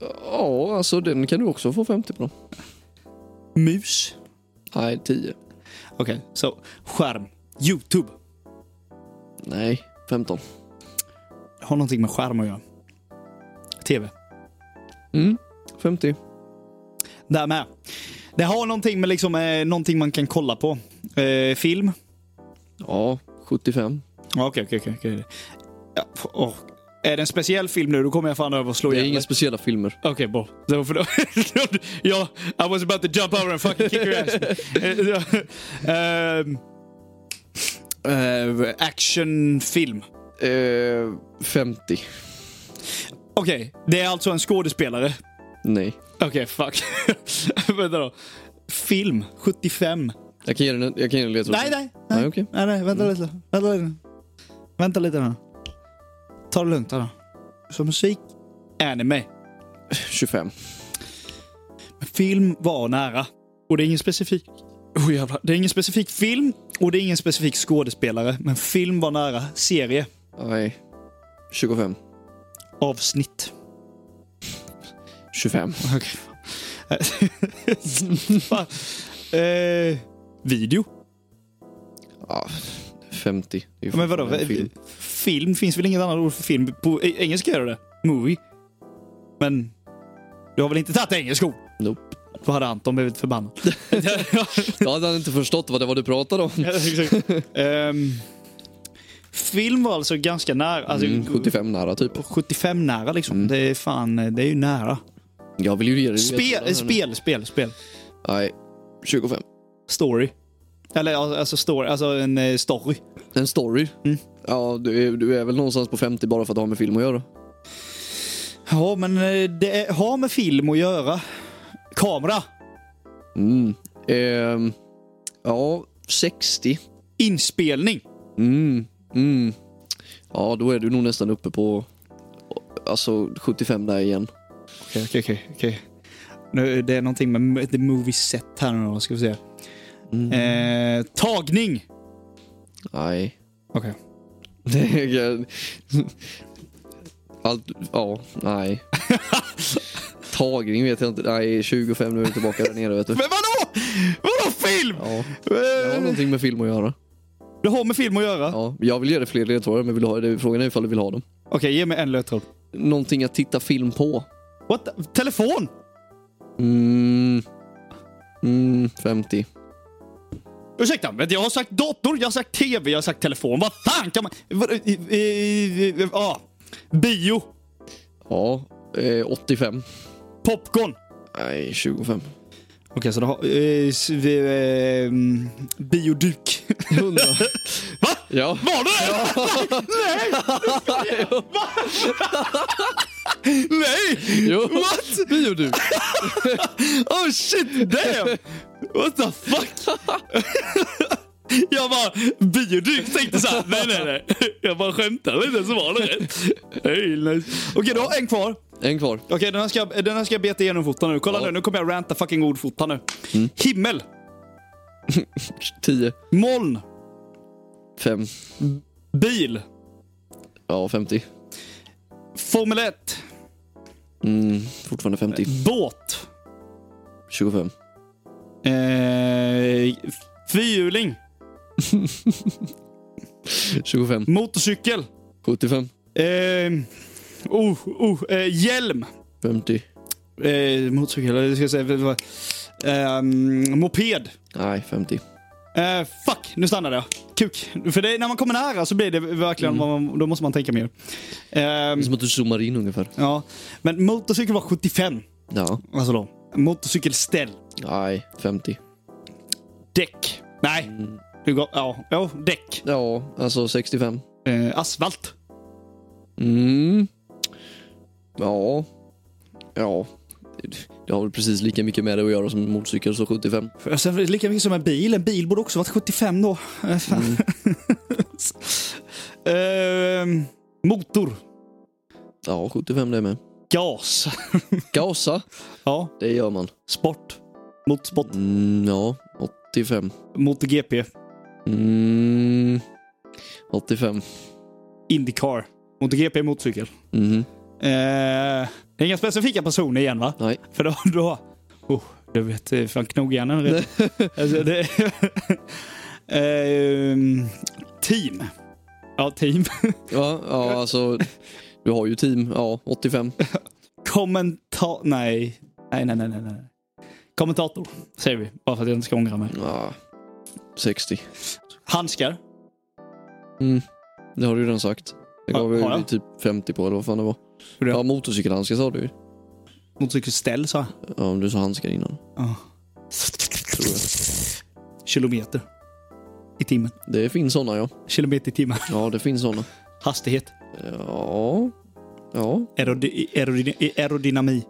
S2: Ja, alltså den kan du också få 50 på.
S1: Mus.
S2: Nej, 10.
S1: Okej, så skärm. Youtube.
S2: Nej, 15.
S1: Har någonting med skärm att göra. TV.
S2: Mm, 50.
S1: Där med. Det har någonting med liksom, eh, någonting man kan kolla på. Eh, film.
S2: Ja, 75.
S1: Ja, Okej, okej, okej, okej. Ja, f- åh. Är det en speciell film nu, då kommer jag fan över och slå
S2: Det är
S1: ihjäl
S2: inga
S1: mig.
S2: speciella filmer.
S1: Okej, bra. Det var för då. ja, I was about to jump over and fucking kick your ass. Eh, ja. Ehm, eh, actionfilm.
S2: Eh, 50.
S1: Okej, det är alltså en skådespelare.
S2: Nej.
S1: Okej, fuck. vänta då. Film, 75.
S2: Jag kan ge den en, jag kan ge den en ledtråd.
S1: Nej, nej. Mm.
S2: Nej, okej.
S1: nej, nej vänta lite. Vänta lite. Vänta lite nu. Ta det lugnt här då. Så musik, anime.
S2: 25.
S1: Men film var nära. Och det är ingen specifik... Oh, jävlar. Det är ingen specifik film och det är ingen specifik skådespelare. Men film var nära. Serie.
S2: Nej. 25.
S1: Avsnitt.
S2: 25.
S1: Okej. Fan. eh, video.
S2: Ja, 50. Det är ju
S1: Men vadå?
S2: fortfarande en
S1: Film.
S2: film.
S1: film? Finns väl inget annat ord för film? På e- engelska gör det det Movie. Men du har väl inte tagit engelska ord?
S2: Nope.
S1: Då hade Anton blivit förbannad.
S2: Då hade han inte förstått vad det var du pratade om.
S1: Ja, exakt. Ehm, film var alltså ganska nära. Alltså,
S2: Mm, 75 nära typ.
S1: 75 nära liksom. Det är fan, det är ju nära.
S2: Jag vill ju ge dig ledtrådar här nu.
S1: Spel, spel, spel, spel.
S2: Nej, 25.
S1: Story. Eller alltså story, alltså en eh, story.
S2: En story.
S1: Mm.
S2: Ja, du är, du är väl någonstans på 50 bara för att ha med film att göra.
S1: Ja, men eh, det är- har med film att göra. Kamera.
S2: Mm. Ehm, ja, 60.
S1: Inspelning.
S2: Mm. Mm. Ja, då är du nog nästan uppe på alltså 75 där igen.
S1: Okej, okej, okej. okej. Nu, det är någonting med m- the movie set här nu då, ska vi se. Eh, tagning.
S2: Nej.
S1: Okej.
S2: Det är- Allt, ja, nej. Tagning vet jag inte. Nej, 25 nu är vi tillbaka där nere vet du.
S1: Men vadå? Vadå film?
S2: Ja, det har
S1: Eh,
S2: någonting med film att göra.
S1: det har med film att göra?
S2: Ja, jag vill ge dig fler ledtrådar men vill du ha det? frågan är ifall du vill ha dem.
S1: Okej, ge mig en ledtråd.
S2: Någonting att titta film på.
S1: What? the- Telefon?
S2: Mm. Mm, 50.
S1: Ursäkta, men jag har sagt dator, jag har sagt tv, jag har sagt telefon. Vad fan kan man... Vad- i- i- i- i- Ja. Bio.
S2: Ja, eh, 85.
S1: Popcorn.
S2: Nej, 25.
S1: Okej, så då har... Eh, s- vi, eh, mm, bioduk.
S2: 100.
S1: Va?
S2: Ja.
S1: Var det det? Nej! Va? Nej!
S2: Jo.
S1: What?
S2: Bioduk.
S1: Oh shit, damn! What the fuck? Jag bara, bioduk tänkte såhär, nej nej nej. Jag bara skämtade lite så var det rätt. Hey, nice. Okej, du har en kvar.
S2: En kvar.
S1: Okej, den här ska jag- den här ska jag beta igenom fotan nu. Kolla
S2: Ja.
S1: nu, nu kommer jag ranta fucking ordfotan nu. Himmel,
S2: 10.
S1: moln,
S2: 5.
S1: bil,
S2: Ja, 50.
S1: Formel 1,
S2: Mm, fortfarande 50.
S1: båt,
S2: 25.
S1: Eh, fyrhjuling.
S2: 25,
S1: Motorcykel.
S2: 75,
S1: Eh, oh, oh, eh, hjälm.
S2: 50.
S1: Eh, motorcykel, eller ska jag säga... vad- Eh, moped.
S2: Nej, 50.
S1: Eh, fuck, nu stannade jag. Kuk. För det, när man kommer nära så blir det verkligen, vad man, då måste man tänka mer.
S2: Det
S1: Eh,
S2: är som att du zoomar in ungefär.
S1: ja. Men motorcykel var 75.
S2: Ja.
S1: Alltså då. Motorcykelställ.
S2: Nej, 50.
S1: Däck. Nej. Det går, ja, ja, däck.
S2: Ja, alltså 65.
S1: Eh, asfalt.
S2: Mm. Ja. Ja. Det har väl precis lika mycket med det att göra som en motorcykel, så 75.
S1: Och Sen är alltså, det lika mycket som en bil. En bil borde också varit 75 då. Eh, fan. eh, motor.
S2: Ja, 75 det är med.
S1: Gas.
S2: Gasa,
S1: Ja.
S2: det gör man.
S1: Sport. Motorsport.
S2: Mm, ja, 85.
S1: MotoGP.
S2: Mm, 85.
S1: Indycar. MotoGP är motorcykel.
S2: Mhm.
S1: Eh, det är inga specifika personer igen va?
S2: Nej.
S1: För då... då oh, du vet, eh, fan knogjärnan redan. alltså, det, Ehm, team. Ja, team.
S2: Ja, ja, alltså. Du har ju team. Ja, 85.
S1: Kommentar... Nej. Nej, nej, nej, nej. nej. Kommentator, säger vi. Bara för att jag inte ska ångra mig.
S2: Ja, 60.
S1: Handskar.
S2: Mm. Det har du ju redan sagt. Det
S1: Ja,
S2: gav
S1: har
S2: jag ju
S1: jag?
S2: typ 50 på eller vad fan det var.
S1: Hur då?
S2: Ja, motorcykelhandskar sa du ju.
S1: Motorcykelställ, sa jag.
S2: Ja, men du sa handskar innan.
S1: Ja.
S2: Tror jag.
S1: Kilometer. I timmen.
S2: Det finns såna ja.
S1: Kilometer i timmen.
S2: Ja, det finns såna.
S1: Hastighet.
S2: Ja. Ja.
S1: Aerody- aerody- aerodynami.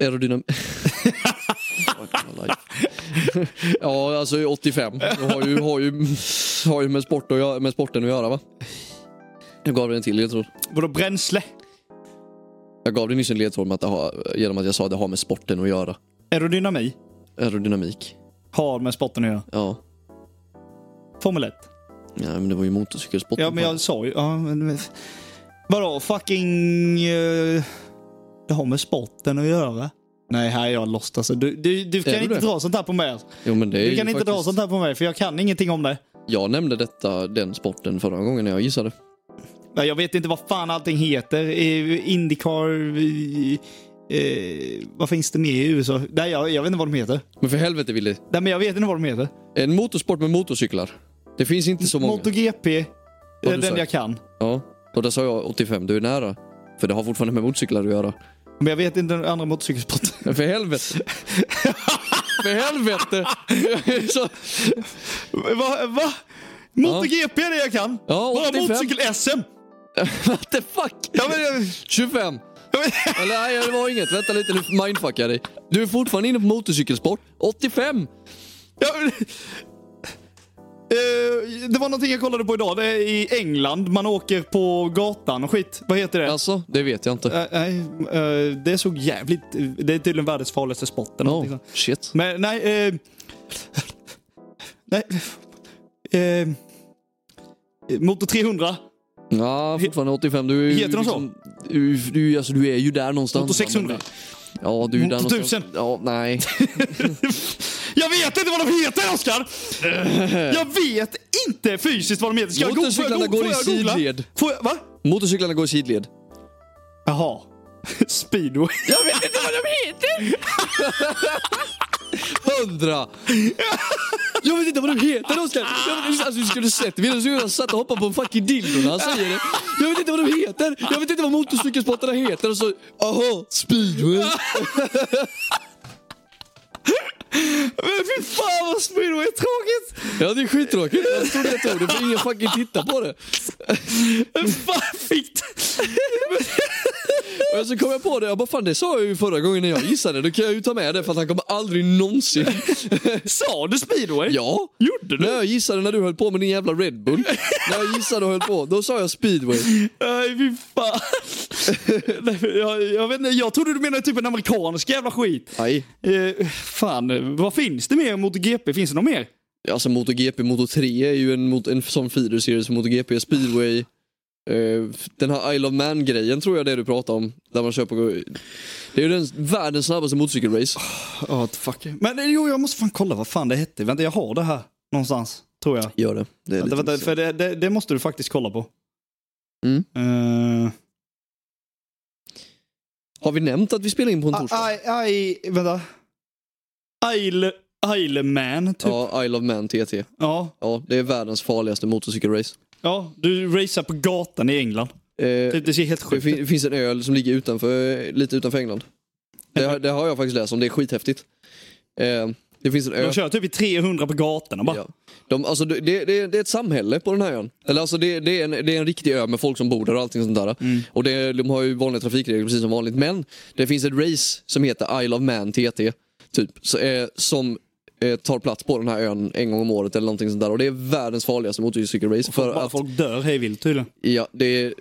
S2: Aerodynam... Fuck my life. ja, alltså 85. Det har ju, har ju, har ju med, sport att göra, med sporten att göra va? Jag gav dig en till ledtråd.
S1: Vadå bränsle?
S2: Jag gav dig nyss en ledtråd med att det har, genom att jag sa att det har med sporten att göra.
S1: Aerodynami.
S2: Aerodynamik.
S1: Har med sporten att göra.
S2: Ja.
S1: Formel 1.
S2: ja men det var ju motorcykelsporten.
S1: Ja, men jag sa ju... Ja, men, vadå, fucking... eh, det har med sporten att göra. Nej, här är jag lost alltså. Du, du, du kan
S2: du
S1: inte
S2: det?
S1: dra sånt här på mig. alltså.
S2: Jo, men det är
S1: Du
S2: ju
S1: kan inte dra
S2: faktiskt-
S1: sånt här på mig, för jag kan ingenting om det.
S2: Jag nämnde detta, den sporten förra gången när jag gissade.
S1: Nej, Jag vet inte vad fan allting heter. Eh, Indycar... eh, Eh, vad finns det mer i USA? Nej, jag, jag vet inte vad de heter.
S2: Men för helvete Willy.
S1: Nej, men jag vet inte vad de heter.
S2: En motorsport med motorcyklar. Det finns inte så många.
S1: MotoGP.
S2: Vad
S1: är
S2: har du
S1: den
S2: sagt?
S1: jag kan.
S2: Ja, och där sa jag 85. Du är nära. För det har fortfarande med motorcyklar att göra.
S1: Men jag vet inte den andra motorcykelsporten.
S2: Men för helvete. för helvete. så,
S1: Va? va? MotoGP är det jag kan.
S2: Ja, 85.
S1: Bara motorcykel-SM.
S2: what the fuck.
S1: Ja, men jag...
S2: 25. Eller nej, det var inget. Vänta lite, nu mindfuckar jag dig. Du är fortfarande inne på motorcykelsport. 85.
S1: Ja, men- Eh, det var någonting jag kollade på idag. Det är i England. Man åker på gatan och skit. Vad heter det?
S2: Alltså, det vet jag inte.
S1: Eh, Nej, eh, det såg jävligt... Det är tydligen världens farligaste sport. eller någonting
S2: Oh,
S1: sånt.
S2: shit.
S1: Men nej... eh, nej... eh, Motor 300.
S2: Ja, fortfarande 85. Du är ju liksom-
S1: Heter de så?
S2: Du, du, alltså, du är ju där någonstans.
S1: Motor 600.
S2: Ja, du är ju där
S1: Motor
S2: någonstans.
S1: 1000.
S2: Ja, nej.
S1: Jag vet inte vad de heter, Oskar! Jag vet inte fysiskt vad de heter. Ska jag googla? Får jag
S2: Eh. Motorcyklarna går
S1: googla?
S2: i
S1: Får jag googla?
S2: sidled.
S1: Får jag, va?
S2: Motorcyklarna går i sidled.
S1: Jaha. Speedway.
S2: Jag vet inte vad de heter! Hundra! Jag vet inte vad de heter Oskar! Jag vet- Alltså, du skulle sett videon, så jag satt och hoppade på en fucking dildo när han säger det. Jag vet inte vad de heter! Jag vet inte vad motorcykelsportarna heter och så... Aha, speedway!
S1: Men fy fan vad speedway är tråkigt!
S2: Ja det är skittråkigt, jag trodde jag tog det för ingen fucking tittar på det.
S1: Hur fan fick du?
S2: Och så kom jag på det, jag bara fan det sa jag ju förra gången när jag gissade, då kan jag ju ta med det för att han kommer aldrig någonsin...
S1: Sa du speedway?
S2: Ja!
S1: Gjorde du?
S2: När jag gissade när du höll på med din jävla Red Bull. när jag gissade och höll på, då sa jag speedway.
S1: Nej fy fan. Nej, jag, jag, vet inte, jag trodde du menade typ en amerikansk jävla skit.
S2: Nej.
S1: Eh, fan, vad finns det mer mot GP? Finns det något mer?
S2: Alltså MotoGP, Moto 3 är ju en, mot- en sån feeder series för MotoGP, speedway. eh, den här Isle of Man-grejen tror jag det är du pratar om. Där man kör på... Det är ju den, världens snabbaste motorcykelrace.
S1: Ja, fuck. Men eh, jo, jag måste fan kolla vad fan det hette. Vänta, jag har det här någonstans, tror jag.
S2: Gör det. det är
S1: Vänta,
S2: lite
S1: vänta, för det, det, det måste du faktiskt kolla på.
S2: Mm.
S1: Eh,
S2: Har vi nämnt att vi spelar in på en torsdag?
S1: I, I, I, vänta. Isle, Isle Man, typ. Ja.
S2: Ja, Isle of Man TT.
S1: ja.
S2: Ja, det är världens farligaste motorcykelrace.
S1: du racear på gatan i England.
S2: Eh,
S1: Det, det ser helt
S2: det
S1: sjukt ut.
S2: fin- finns en öl som ligger utanför, lite utanför England. Det, har- det har jag faktiskt läst om, det är skithäftigt. Eh, det finns en ö.
S1: De kör typ i 300 på gatorna bara.
S2: Ja. De, alltså, det, det, det det är ett samhälle på den här ön. Eller alltså, det, det, är en, det är en riktig ö med folk som bor där och allting sånt där.
S1: Mm.
S2: Och det, de har ju vanliga trafikregler precis som vanligt. Men det finns ett race som heter Isle of Man TT. Typ, så, eh, som eh, tar plats på den här ön en gång om året eller någonting sånt där. Och det är världens farligaste motorcykelrace. För
S1: Bara
S2: att,
S1: folk dör hej vilt tydligen.
S2: ja, det, är,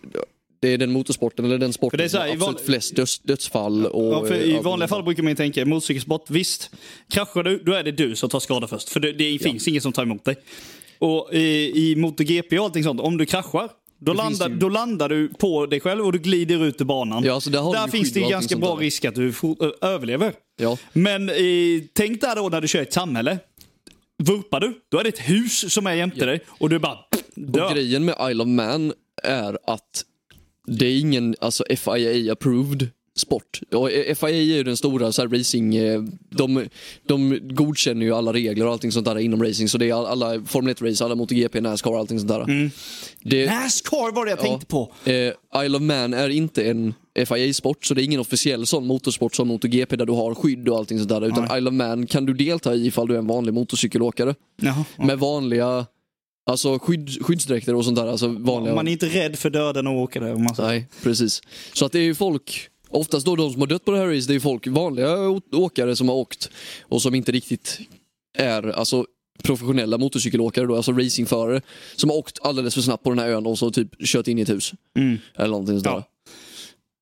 S2: det är den motorsporten eller den sporten
S1: det är så här,
S2: som
S1: i
S2: har absolut
S1: van-
S2: flest döds, dödsfall. Och,
S1: Ja, för
S2: eh,
S1: I
S2: allt
S1: vanliga
S2: sånt där.
S1: fall brukar man ju tänka motorcykelsport, visst. Kraschar du, då är det du som tar skada först. För det, det finns ingen som tar emot dig. Och i, i MotoGP och allting sånt, om du kraschar, då
S2: finns
S1: landar,
S2: det ju-
S1: då landar du på dig själv och du glider ut ur banan.
S2: Ja, alltså där har du ju
S1: finns
S2: skydd
S1: det
S2: och
S1: ju
S2: allting
S1: ganska
S2: sånt
S1: bra
S2: där.
S1: risk att du for, ö, överlever.
S2: Ja.
S1: Men eh, tänk där då när du kör i ett samhälle. Vurpar du, då är det ett hus som är jämte dig och du bara pff,
S2: Och
S1: dör.
S2: grejen med Isle of Man är att det är ingen alltså, FIA-approved sport. Och eh, FIA är ju den stora så här, racing... eh, De, de godkänner ju alla regler och allting sånt där inom racing. Så det är all- alla Formel 1-race, alla MotoGP, Nascar och allting sånt där.
S1: Mm.
S2: Det,
S1: Nascar var det jag
S2: Ja.
S1: tänkte på.
S2: Eh, Isle of Man är inte en FIA-sport, så det är ingen officiell sån motorsport som MotoGP där du har skydd och allting sånt där. Utan Isle of Man kan du delta i ifall du är en vanlig motorcykelåkare.
S1: Jaha, ja.
S2: Med vanliga alltså skydd, skyddsdräkter och sånt där. Alltså vanliga...
S1: Man är inte rädd för döden och åker där. Om man säger.
S2: Nej, precis. Så att det är ju folk, oftast då de som har dött på det här racet, det är ju folk, vanliga å- åkare som har åkt och som inte riktigt är alltså, professionella motorcykelåkare, då, alltså racingförare, som har åkt alldeles för snabbt på den här ön och så typ kört in i ett hus.
S1: Mm.
S2: Eller någonting sådär.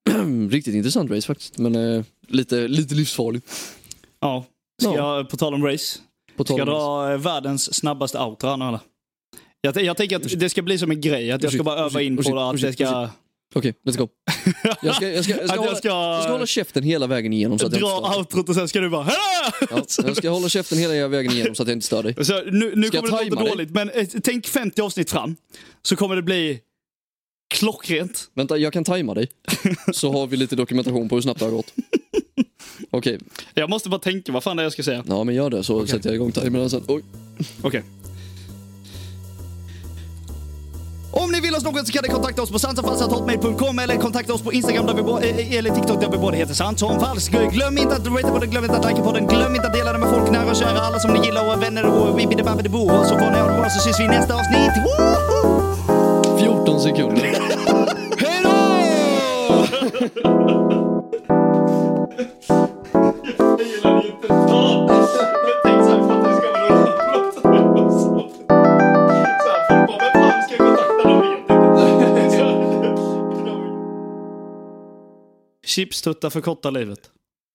S2: Riktigt intressant race faktiskt, men eh, lite, lite livsfarligt.
S1: Ja. Ska
S2: Ja.
S1: jag, på tal om race,
S2: På
S1: Ska
S2: tal
S1: jag
S2: om race.
S1: dra eh, världens snabbaste outro här nu eller? Jag, t- jag tänker att det ska bli som en grej, att jag ska
S2: Ursäkta,
S1: bara öva in
S2: ursäkta,
S1: på att
S2: ursäkta,
S1: det ska
S2: Okej, let's go. Jag ska, jag ska, jag ska,
S1: Att jag
S2: hålla, jag
S1: ska-
S2: ska... hålla käften hela vägen igenom så att jag inte
S1: dra
S2: stör.
S1: outrot och sen ska du bara "Hä?"
S2: Ja, jag ska hålla käften hela vägen igenom så att jag inte stör dig.
S1: Så nu, nu
S2: Ska jag
S1: kommer det låta
S2: tajma dig?
S1: dåligt, men eh, tänk 50 avsnitt fram så kommer det bli klockrent.
S2: Vänta, jag kan tajma dig. Så har vi lite dokumentation på hur snabbt det har gått. Okej,
S1: Jag måste bara tänka vad fan det är jag ska säga.
S2: ja men gör det så sätter jag igång timern sen. Oj.
S1: Okej. Om ni vill oss något så kan ni kontakta oss på sansomfalskt.hotmail.com eller kontakta oss på Instagram där vi bo- eh, eller TikTok där vi båda heter sansomfalsk. Eh, Glöm inte att ratea podden, glöm inte att likea podden, glöm inte att dela den med folk nära och kära, alla som ni gillar och vänner och wibbidi-babbidi-bo. Och så får ni ha det bra så syns vi i nästa avsnitt. Woho!
S2: 14 sekunder.
S1: Hej då! Jag gillar inte Thanos. Men tänk så här, fattar du, ska vi rulla något? Så här, folk bara, vem fan ska jag kontakta? De vet inte. Så här, de- Chipstuttar förkortar livet.